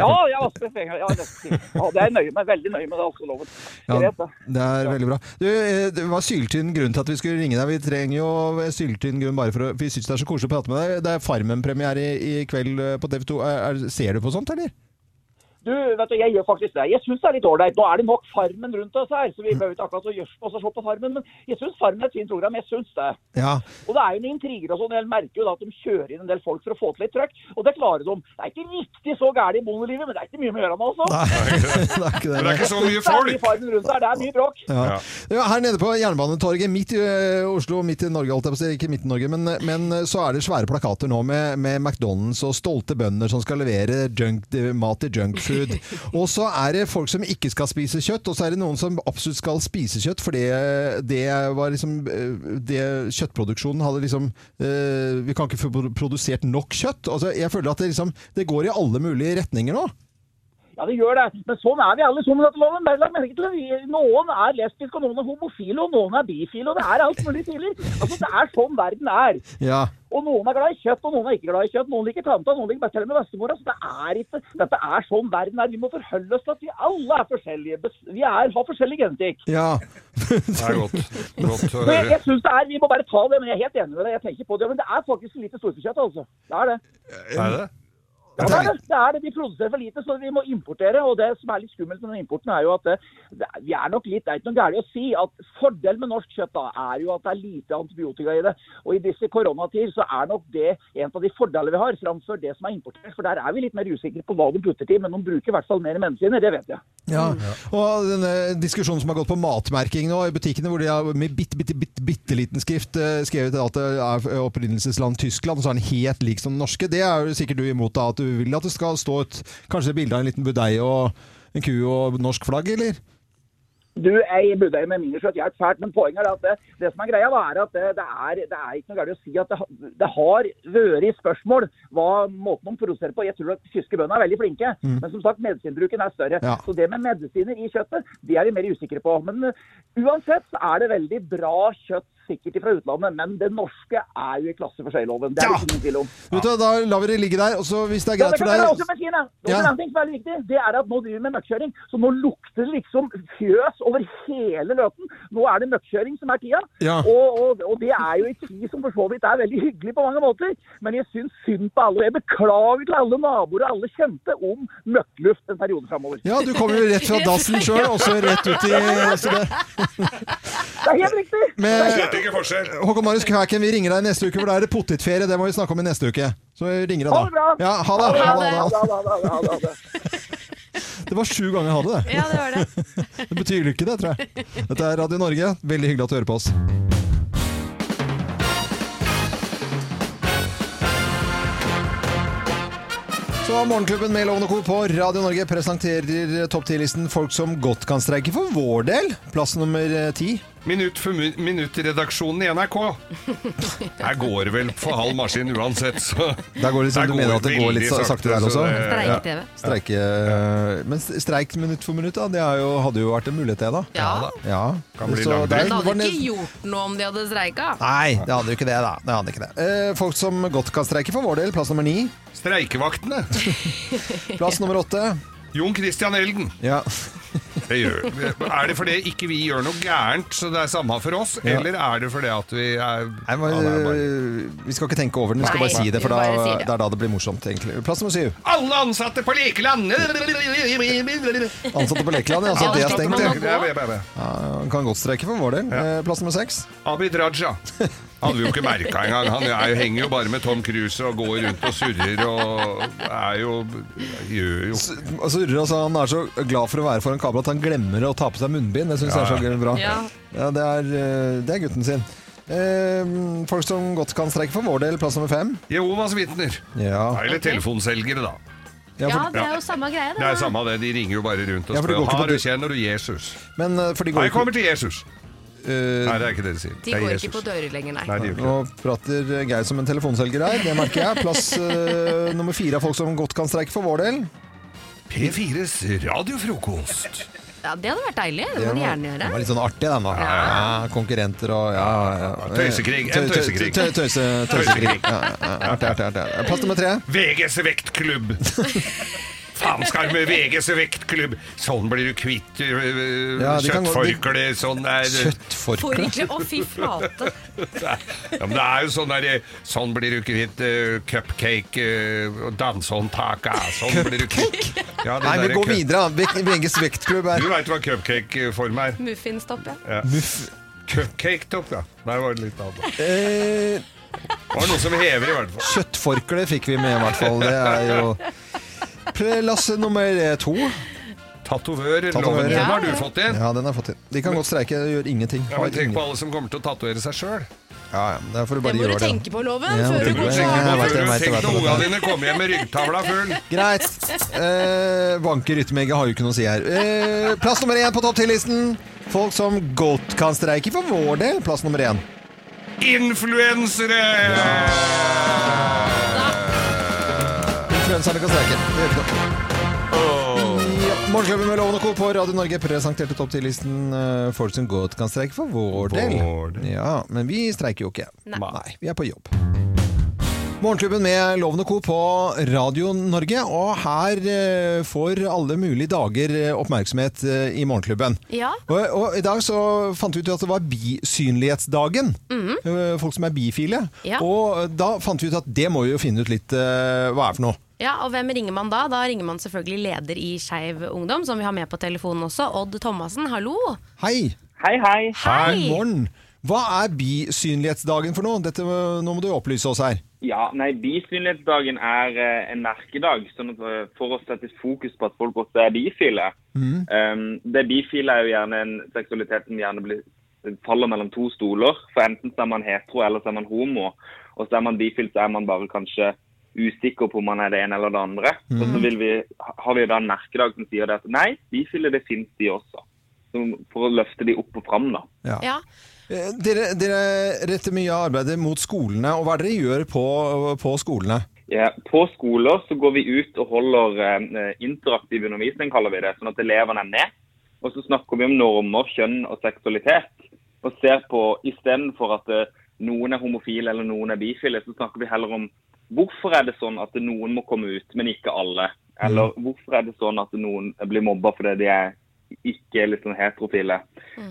[SPEAKER 4] Ja, jeg vasker penger. Ja, det, ja, det er jeg nøye med. Veldig nøye med det altså, alkoholloven. Jeg
[SPEAKER 1] Ja,
[SPEAKER 4] vet det.
[SPEAKER 1] det er veldig bra. Du, eh, det var syltynn grunn til at vi skulle ringe deg. Vi trenger jo syltynn grunn bare for å Vi syns det er så koselig å prate med deg. Det er Farmen-premiere i, i kveld eh, på TV 2. Er, er, ser du på sånt, eller?
[SPEAKER 4] Du, vet du, jeg gjør faktisk det. Jeg syns det er litt ålreit. Nå er det nok Farmen rundt oss her, så vi behøver ikke akkurat å gjørsle oss og se på Farmen, men jeg syns Farmen er et fint program. Jeg syns det.
[SPEAKER 1] Ja.
[SPEAKER 4] Og det er jo noen intriger og sånn. Jeg merker jo da at de kjører inn en del folk for å få til litt trøkk, og det klarer de. Det er ikke riktig så gærent i bondelivet, men det er ikke mye med å gjøre nå, altså.
[SPEAKER 1] Nei, det er ikke det.
[SPEAKER 3] Men det er ikke så mye
[SPEAKER 4] Det er mye
[SPEAKER 3] folk!
[SPEAKER 4] Farmen rundt her, det er mye bråk.
[SPEAKER 1] Ja. Ja, her nede på Jernbanetorget, midt i ø, Oslo, midt i Norge, holdt jeg på å si, ikke midt i Norge, men, men eh, så er det svære plakater nå med, med McDonald's og stolte bønder som skal levere junk, eh, mat til junkfood. Og så er det folk som ikke skal spise kjøtt, og så er det noen som absolutt skal spise kjøtt, for det, det var liksom ø, det Kjøttproduksjonen hadde liksom ø, Vi kan ikke få produsert nok kjøtt. Altså, jeg føler at det liksom Det går i alle mulige retninger nå.
[SPEAKER 4] Ja, det gjør det. Men sånn er vi alle sammen. Dette loven. Men lag merke til at vi- Noen er lesbiske, og noen er homofile, og noen er bifile, og det er alt mulig tidligere. Altså, det er sånn verden er.
[SPEAKER 1] Ja.
[SPEAKER 4] Og noen er glad i kjøtt, og noen er ikke glad i kjøtt. Noen liker tanta, noen liker bestemme bestemora. Så altså, det er ikke Dette er sånn verden er. Vi må forholde oss til at vi alle er forskjellige. Bes- Vi er, har forskjellig genetikk.
[SPEAKER 1] ja.
[SPEAKER 3] Det er godt, godt å
[SPEAKER 4] Så jeg,
[SPEAKER 3] høre.
[SPEAKER 4] jeg synes det er, Vi må bare ta det, men jeg er helt enig med deg. Jeg tenker på det, Men det er faktisk for lite storfekjøtt, altså. Det er det.
[SPEAKER 3] Er det?
[SPEAKER 4] Ja, det er det. det er det. De produserer for lite, så vi må importere. Og det som er litt skummelt med den importen, er jo at det, det, er- vi er nok litt Det er ikke noe gærent å si at fordelen med norsk kjøtt da, er jo at det er lite antibiotika i det. Og i disse koronatider så er nok det en av de fordelene vi har, framfor det som er importert. For der er vi litt mer usikre på hva de putter til, men de bruker i hvert fall mer medisiner. Det vet jeg.
[SPEAKER 1] Ja.
[SPEAKER 4] Mm.
[SPEAKER 1] Og denne diskusjonen som har gått på matmerking nå i butikkene, hvor de har med bitte, bitte, bitte, bitte liten skrift eh, skrevet at det er opprinnelsesland Tyskland, og så er den helt lik som den norske. Det er jo sikkert du imot, da, at du vil at det skal stå et kanskje et bilde av en liten budei og en ku og norsk flagg, eller?
[SPEAKER 4] Du, jeg burde med miniskjøtt hjelp fælt, men poenget er at det, det som er greia, da, er at det, det, er, det er ikke noe galt å si at det, ha- det har vært spørsmål hva måten de produserer på. Jeg tror at tyske bønder er veldig flinke, men som sagt, medisinbruken er større.
[SPEAKER 1] Ja.
[SPEAKER 4] Så det med medisiner i kjøttet, det er vi mer usikre på. Men uh, uansett så er det veldig bra kjøtt sikkert fra utlandet, men det norske er jo i klasse for seg-loven. Det er det ikke noen tvil om.
[SPEAKER 1] Vet du, da lar vi det ligge der, og så hvis det er
[SPEAKER 4] Ja,
[SPEAKER 1] greit
[SPEAKER 4] det kan
[SPEAKER 1] for
[SPEAKER 4] jeg også
[SPEAKER 1] deg
[SPEAKER 4] bare si det. Det
[SPEAKER 1] Ja.
[SPEAKER 4] er en annen ting som er veldig viktig. Det er at nå driver vi med møkkjøring, så nå lukter det liksom fjøs over hele løten. Nå er det møkkjøring som er tida,
[SPEAKER 1] Ja.
[SPEAKER 4] og, og, og det er jo en tid som for så vidt er veldig hyggelig på mange måter, men jeg syns synd på alle. Jeg beklager til alle naboer og alle kjente om møkkluft en periode framover.
[SPEAKER 1] Ja, du kommer jo rett fra dassen sjøl, og så rett ut i så det.
[SPEAKER 4] Det er helt riktig!
[SPEAKER 1] Men eh,
[SPEAKER 3] Slett ikke forskjell.
[SPEAKER 1] Håkon Marius Kvæken, vi ringer deg neste uke, for da er det potetferie. Det må vi snakke om i neste uke. Så vi ringer deg da.
[SPEAKER 4] Ha det bra!
[SPEAKER 1] Ja, ha det. Ha det, ha det.
[SPEAKER 4] Ha det, ha det, ha det, ha det.
[SPEAKER 1] Det var sju ganger ha det, det.
[SPEAKER 2] Ja, det var det.
[SPEAKER 1] Det betyr lykke, det, tror jeg. Dette er Radio Norge. Veldig hyggelig at du hører på oss. Så Morgenklubben med Lovende Co. på Radio Norge presenterer topp 10-listen folk som godt kan streike for vår del. Plass nummer eh, ti.
[SPEAKER 3] Minutt for mu- minutt-redaksjonen i NRK. Her går det vel for halv maskin uansett, så
[SPEAKER 1] Der går det som
[SPEAKER 3] Der
[SPEAKER 1] du
[SPEAKER 3] går
[SPEAKER 1] mener at det går
[SPEAKER 3] veldig
[SPEAKER 1] litt sa- sakte
[SPEAKER 3] sakte,
[SPEAKER 1] der
[SPEAKER 3] så
[SPEAKER 1] også.
[SPEAKER 3] det-
[SPEAKER 2] Streik-TV.
[SPEAKER 1] Streike, eh, men streik minutt for minutt, da. Det er jo, hadde jo vært en mulighet, det, da.
[SPEAKER 2] Ja.
[SPEAKER 1] Ja.
[SPEAKER 3] Kan bli
[SPEAKER 1] Så
[SPEAKER 3] langdrygt.
[SPEAKER 1] der
[SPEAKER 2] Det
[SPEAKER 1] var
[SPEAKER 2] hadde
[SPEAKER 1] ned-
[SPEAKER 2] ikke gjort noe om de hadde streika.
[SPEAKER 1] Nei, det hadde jo ikke det, da. Det hadde ikke det. Eh, folk som godt kan streike for vår del. Plass nummer ni.
[SPEAKER 3] Streikevaktene.
[SPEAKER 1] Plass nummer åtte.
[SPEAKER 3] Jon Christian Elden.
[SPEAKER 1] Ja.
[SPEAKER 3] Det gjør. Er det fordi ikke vi gjør noe gærent, så det er samme for oss?
[SPEAKER 1] Ja.
[SPEAKER 3] Eller er det fordi at vi er
[SPEAKER 1] Nei, men,
[SPEAKER 3] Ja, det er bare-
[SPEAKER 1] øh, vi skal ikke tenke over den, vi skal
[SPEAKER 2] Nei,
[SPEAKER 1] bare si det, for da,
[SPEAKER 2] vi bare sier det.
[SPEAKER 1] det er da det blir morsomt, egentlig. Plass nummer syv.
[SPEAKER 3] Alle ansatte på lekeland!
[SPEAKER 1] Ansatte på Lekeland, ja, så
[SPEAKER 2] Ja,
[SPEAKER 1] det er
[SPEAKER 2] slipper
[SPEAKER 1] stengt.
[SPEAKER 2] man
[SPEAKER 1] ja.
[SPEAKER 2] å gå.
[SPEAKER 1] Ja, kan godt streike for vår del. Eh, Plass nummer seks.
[SPEAKER 3] Abid Raja. Hadde vi jo ikke merka engang. Han er jo, henger jo bare med Tom Cruise og går rundt og surrer og er jo Gjør jo
[SPEAKER 1] S- Altså, Urre, altså, han er så glad for å være foran kamera at han glemmer å ta på seg munnbind. Det syns jeg er så bra.
[SPEAKER 2] Ja.
[SPEAKER 1] Ja, det, er, øh, det er gutten sin. Eh, folk som godt kan streike for vår del. Plass nummer fem.
[SPEAKER 3] Jehovas vitner.
[SPEAKER 1] Ja.
[SPEAKER 3] Eller telefonselgere, da.
[SPEAKER 1] Ja,
[SPEAKER 2] Ja,
[SPEAKER 1] for,
[SPEAKER 2] det er jo samme greie,
[SPEAKER 7] Det
[SPEAKER 2] det.
[SPEAKER 7] er samme det, de ringer jo bare rundt og
[SPEAKER 1] Ja, for det
[SPEAKER 7] spør
[SPEAKER 1] går ikke på
[SPEAKER 7] Har du
[SPEAKER 1] dø-
[SPEAKER 7] kjenner du Jesus?
[SPEAKER 1] men eh, for de
[SPEAKER 7] Nei,
[SPEAKER 1] går
[SPEAKER 7] jeg kommer til Jesus! Nei, det er ikke det de sier.
[SPEAKER 8] De
[SPEAKER 7] det er
[SPEAKER 8] går
[SPEAKER 7] Jesus.
[SPEAKER 8] ikke på dører lenger, nei.
[SPEAKER 7] Nei, de gjør ikke det.
[SPEAKER 1] Eh, Nå prater Geir som en telefonselger her, det merker jeg. Plass eh, nummer fire av folk som godt kan streike for vår del.
[SPEAKER 3] P4s radiofrokost.
[SPEAKER 8] Ja, det hadde vært deilig. Det må
[SPEAKER 1] var-
[SPEAKER 8] de gjerne
[SPEAKER 1] Det var
[SPEAKER 8] gjøre.
[SPEAKER 1] litt sånn artig, den da. Ja, konkurrenter og ja, ja.
[SPEAKER 7] Tøysekrig, en
[SPEAKER 1] Tø- tø-
[SPEAKER 7] tøysekrig.
[SPEAKER 1] tø- Tøyse, tøysekrig. Ja, ja, ja. Artig, artig, artig. Plass nummer tre.
[SPEAKER 3] VGs vektklubb. Faen skal med VGs vektklubb! Sånn blir du kvitt øh,
[SPEAKER 1] Ja, de kan gå- de-
[SPEAKER 3] kjøttforkle. Sånn er
[SPEAKER 1] Kjøttforkle.
[SPEAKER 8] Forkle, å fy flate.
[SPEAKER 3] ja, men Det er jo sånn der eh, Sånn blir du kvitt øh, cupcake øh, og dansehåndtaka. Sånn blir du kvitt ja, det
[SPEAKER 1] Nei, vi
[SPEAKER 3] der
[SPEAKER 1] går
[SPEAKER 3] cup-
[SPEAKER 1] videre. da. Vek- VGs vektklubb er
[SPEAKER 3] Du veit hva cupcake-form er.
[SPEAKER 8] Muffinstopp, ja.
[SPEAKER 3] Cupcake-topp, ja. Der var det litt annet.
[SPEAKER 1] eh,
[SPEAKER 3] Det var noe som hever, i hvert fall.
[SPEAKER 1] Kjøttforkle fikk vi med, i hvert fall. Det er jo Plass nummer to.
[SPEAKER 3] Tatovører,
[SPEAKER 1] Tatovører.
[SPEAKER 3] loven. Den
[SPEAKER 1] Ja,
[SPEAKER 3] har du fått inn.
[SPEAKER 1] Ja, den har jeg fått inn. De kan godt streike, det gjør ingenting.
[SPEAKER 3] Ja, men tenk
[SPEAKER 1] ingen-
[SPEAKER 3] på alle som kommer til å tatovere seg sjøl.
[SPEAKER 1] ja, ja, det får du
[SPEAKER 8] Det
[SPEAKER 1] bare
[SPEAKER 8] må du
[SPEAKER 1] gjøre. det.
[SPEAKER 8] tenke på, Loven,
[SPEAKER 1] Ja,
[SPEAKER 8] før
[SPEAKER 1] det
[SPEAKER 8] du
[SPEAKER 1] burde
[SPEAKER 8] går
[SPEAKER 1] jeg
[SPEAKER 8] til
[SPEAKER 1] tenke på.
[SPEAKER 8] avgjørelse.
[SPEAKER 1] vet det, jeg vet det,
[SPEAKER 3] Tenk
[SPEAKER 1] jeg vet
[SPEAKER 3] når
[SPEAKER 1] det.
[SPEAKER 3] ungene dine kommer hjem med ryggtavla full.
[SPEAKER 1] Greit. Eh, banker rytmeegget har jo ikke noe å si her. Eh, plass nummer én på topp 10-listen. Folk som godt kan streike for vår del. Plass nummer én.
[SPEAKER 3] Influensere!
[SPEAKER 1] Influenserne kan streike. Det gjør ikke noe. Ja, Morgenklubben med Loven og Co. på Radio Norge presenterte topp 10-listen eh, folk som godt kan streike for vår del.
[SPEAKER 3] Vår del.
[SPEAKER 1] Ja, Men vi streiker jo ikke.
[SPEAKER 8] Nei.
[SPEAKER 1] Nei vi er på jobb. Morgenklubben med Loven og Co. på Radio Norge, og her eh, får alle mulige dager eh, oppmerksomhet eh, i Morgenklubben.
[SPEAKER 2] Ja.
[SPEAKER 1] Og, og i dag så fant vi ut at det var bisynlighetsdagen. Eh, Folk som er bifile.
[SPEAKER 2] Mhm. Ja.
[SPEAKER 1] Og da fant vi ut at det må vi jo finne ut litt eh, hva er for noe.
[SPEAKER 2] Ja, og hvem ringer man da? Da ringer man selvfølgelig leder i Skeiv Ungdom, som vi har med på telefonen også. Odd Thomassen, hallo.
[SPEAKER 1] Hei!
[SPEAKER 4] Hei, hei.
[SPEAKER 1] God morgen! Hva er bisynlighetsdagen for noe? Dette, må- nå må du opplyse oss her.
[SPEAKER 9] Ja, nei, Bisynlighetsdagen er eh, en merkedag sånn at, eh, for å sette fokus på at folk også er bifile. Um, det bifile er jo gjerne en seksualitet som gjerne blir, faller mellom to stoler. For enten så er man hetero, eller så er man homo. Og så er man bifil, så er man bare kanskje usikker på om man er det ene eller det andre. Og så vil vi, har vi da en merkedag som sier det at nei, bifile det finnes de også. Så for å løfte de opp og fram, da.
[SPEAKER 2] Ja.
[SPEAKER 1] Eh, Dere, dere retter mye av arbeidet mot skolene, og hva er det dere gjør på, på skolene?
[SPEAKER 9] Ja, på skoler så går vi ut og holder eh, interaktiv undervisning, kaller vi det, sånn at elevene er med. Og så snakker vi om normer, kjønn og seksualitet. Og ser på, istedenfor at eh, noen er homofile eller noen er bifile, så snakker vi heller om hvorfor er det sånn at noen må komme ut, men ikke alle? Eller hvorfor er det sånn at noen blir mobba fordi de er ikke liksom heterofile?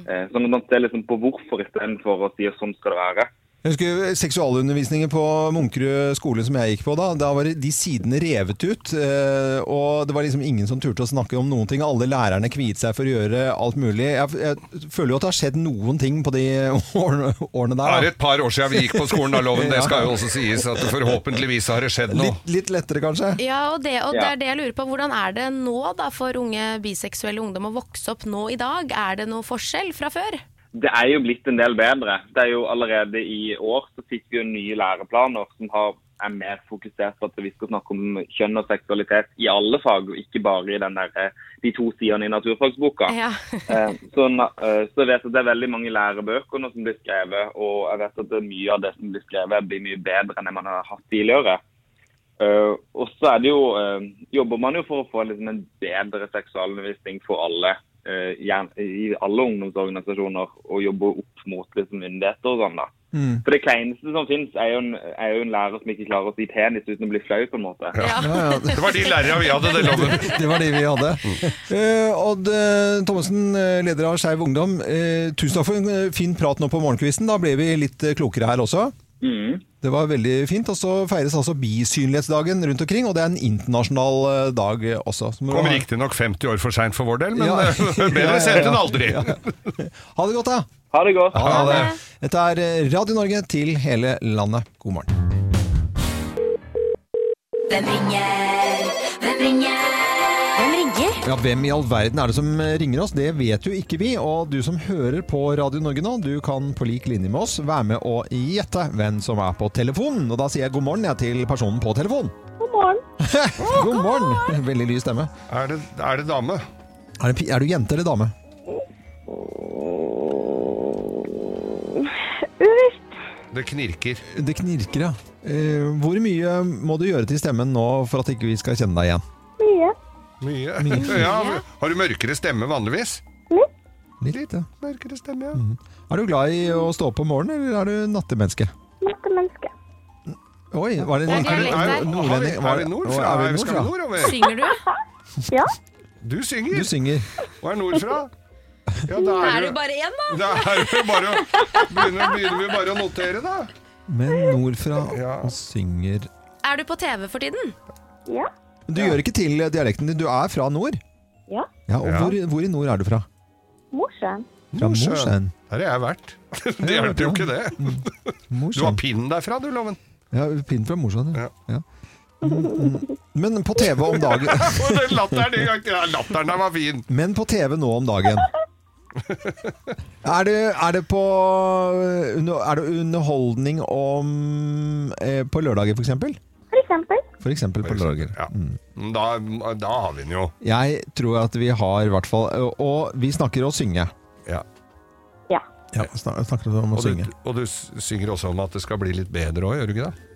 [SPEAKER 9] Eh, Sånn at man ser liksom på hvorfor istedenfor å si at sånn skal det være.
[SPEAKER 1] Jeg husker seksualundervisningen på Munkerud skole som jeg gikk på da. Da var det- de sidene revet ut, eh, og det var liksom ingen som turte å snakke om noen ting. Alle lærerne kviet seg for å gjøre alt mulig. Jeg, jeg føler jo at det har skjedd noen ting på de årene, årene
[SPEAKER 3] Det
[SPEAKER 1] der.
[SPEAKER 3] er
[SPEAKER 1] Da.
[SPEAKER 3] et par år siden vi gikk på skolen, da, Loven. Det skal jo også sies at forhåpentligvis har det skjedd noe.
[SPEAKER 1] Litt, litt lettere, kanskje?
[SPEAKER 2] Ja, og, det, og det
[SPEAKER 9] Ja.
[SPEAKER 2] er det jeg lurer på. Hvordan er det nå da for unge biseksuelle ungdom å vokse opp nå i dag? Er det noe forskjell fra før?
[SPEAKER 9] Det er jo blitt en del bedre. Det er jo Allerede i år så fikk vi jo nye læreplaner som har, er mer fokusert på at vi skal snakke om kjønn og seksualitet i alle fag, og ikke bare i den der, eh, de to sidene i naturfagsboka.
[SPEAKER 2] Ja.
[SPEAKER 9] Eh, Så, na- eh, så jeg vet at det er veldig mange lærebøker nå som blir skrevet, og jeg vet at det er mye av det som blir skrevet, blir mye bedre enn det man har hatt tidligere. Eh, og så er det jo, eh, jobber man jo for å få liksom, en bedre seksualundervisning for alle eh, gjerne- i alle ungdomsorganisasjoner, og jobbe opp mot liksom, myndigheter og sånn. da. For det kleineste som finnes, er jo, en, er jo en lærer som ikke klarer å si penis uten å bli flau, på en måte.
[SPEAKER 1] Ja, ja.
[SPEAKER 3] Det var de lærerne vi hadde, det, Loven.
[SPEAKER 1] Det var de vi hadde. Eh, Odd eh, Thommessen, eh, leder av Skeiv Ungdom. eh, tusen takk for en eh, fin prat nå på morgenkvisten. Da ble vi litt eh, klokere her også.
[SPEAKER 9] Mhm.
[SPEAKER 1] Det var veldig fint. Og så feires altså bisynlighetsdagen rundt omkring, og det er en internasjonal eh, dag eh, også. Så må du
[SPEAKER 3] Kom
[SPEAKER 1] ha-
[SPEAKER 3] riktignok 50 år for seint for vår del, men
[SPEAKER 1] Ja.
[SPEAKER 3] eh, bedre sent enn aldri.
[SPEAKER 1] Ha det godt, da!
[SPEAKER 9] Ha det godt.
[SPEAKER 1] Ha det. Dette er eh, Radio Norge til hele landet. God morgen.
[SPEAKER 6] Hvem ringer? Hvem ringer? Hvem ringer?
[SPEAKER 1] Ja, Hvem i all verden er det som eh, ringer oss? Det vet jo ikke vi. Og du som hører på Radio Norge nå, du kan på lik linje med oss være med og gjette hvem som er på telefonen. Og da sier jeg god morgen jeg, til personen på telefonen.
[SPEAKER 10] God morgen!
[SPEAKER 1] God morgen! Veldig lys stemme.
[SPEAKER 3] Er det, er det dame?
[SPEAKER 1] Er, det, pi- er du jente eller dame?
[SPEAKER 3] Det knirker.
[SPEAKER 1] Det knirker, ja. Eh, Hvor mye må du gjøre til stemmen nå for at ikke vi skal kjenne deg igjen?
[SPEAKER 10] Mye.
[SPEAKER 3] Mye. Ja, har du mørkere stemme vanligvis?
[SPEAKER 1] Litt, ja.
[SPEAKER 3] Mørkere stemme, ja.
[SPEAKER 2] Mhm.
[SPEAKER 1] Er du glad i å stå opp om morgenen, eller er du nattemenneske?
[SPEAKER 10] Lite menneske.
[SPEAKER 1] Oi, var det
[SPEAKER 2] Det er dialekt
[SPEAKER 3] Er,
[SPEAKER 2] der.
[SPEAKER 3] har vi- er vi nordfra?
[SPEAKER 1] Er
[SPEAKER 3] Er vi,
[SPEAKER 1] vi
[SPEAKER 3] skal vi
[SPEAKER 1] nordfra?
[SPEAKER 3] nordover?
[SPEAKER 2] Synger du?
[SPEAKER 10] Ja.
[SPEAKER 3] Du
[SPEAKER 1] Du
[SPEAKER 3] synger.
[SPEAKER 1] synger.
[SPEAKER 3] Og er nordfra? Ja, da
[SPEAKER 2] Er
[SPEAKER 3] er
[SPEAKER 2] du
[SPEAKER 3] du
[SPEAKER 2] bare én, da?
[SPEAKER 3] da er du bare å, begynner, begynner vi bare å notere, da.
[SPEAKER 1] Men nordfra
[SPEAKER 3] Ja.
[SPEAKER 1] og synger
[SPEAKER 2] Er du på TV for tiden?
[SPEAKER 10] Ja.
[SPEAKER 1] Du gjør ikke til dialekten din. Du er fra nord.
[SPEAKER 10] Ja.
[SPEAKER 1] Ja, og
[SPEAKER 3] Ja.
[SPEAKER 1] Hvor, hvor i nord er du fra?
[SPEAKER 10] Morsom.
[SPEAKER 1] Fra
[SPEAKER 3] Mosjøen.
[SPEAKER 1] Mosjøen.
[SPEAKER 3] Der har jeg vært. Det hjelper jo ikke, det. Du har
[SPEAKER 1] Mosjøen.
[SPEAKER 3] pinnen derfra, du, Loven.
[SPEAKER 1] Ja, pinn fra Mosjøen. Ja.
[SPEAKER 3] Ja.
[SPEAKER 1] Ja. Mm, mm. Men på TV om dagen
[SPEAKER 3] Og den latteren, den gang- ja, latteren der var fin.
[SPEAKER 1] Men på TV nå om dagen. Er det, er det på Er det underholdning om eh, På lørdager, for eksempel?
[SPEAKER 10] For eksempel.
[SPEAKER 1] For eksempel på lørdager.
[SPEAKER 3] Ja. Da, da har vi den jo.
[SPEAKER 1] Jeg tror at vi har i hvert fall Og vi snakker å synge.
[SPEAKER 3] Ja.
[SPEAKER 10] Ja.
[SPEAKER 1] Ja, snak- snakker om å
[SPEAKER 3] Og du,
[SPEAKER 1] synge.
[SPEAKER 3] og du s- synger også om at det skal bli litt bedre òg, gjør du ikke det?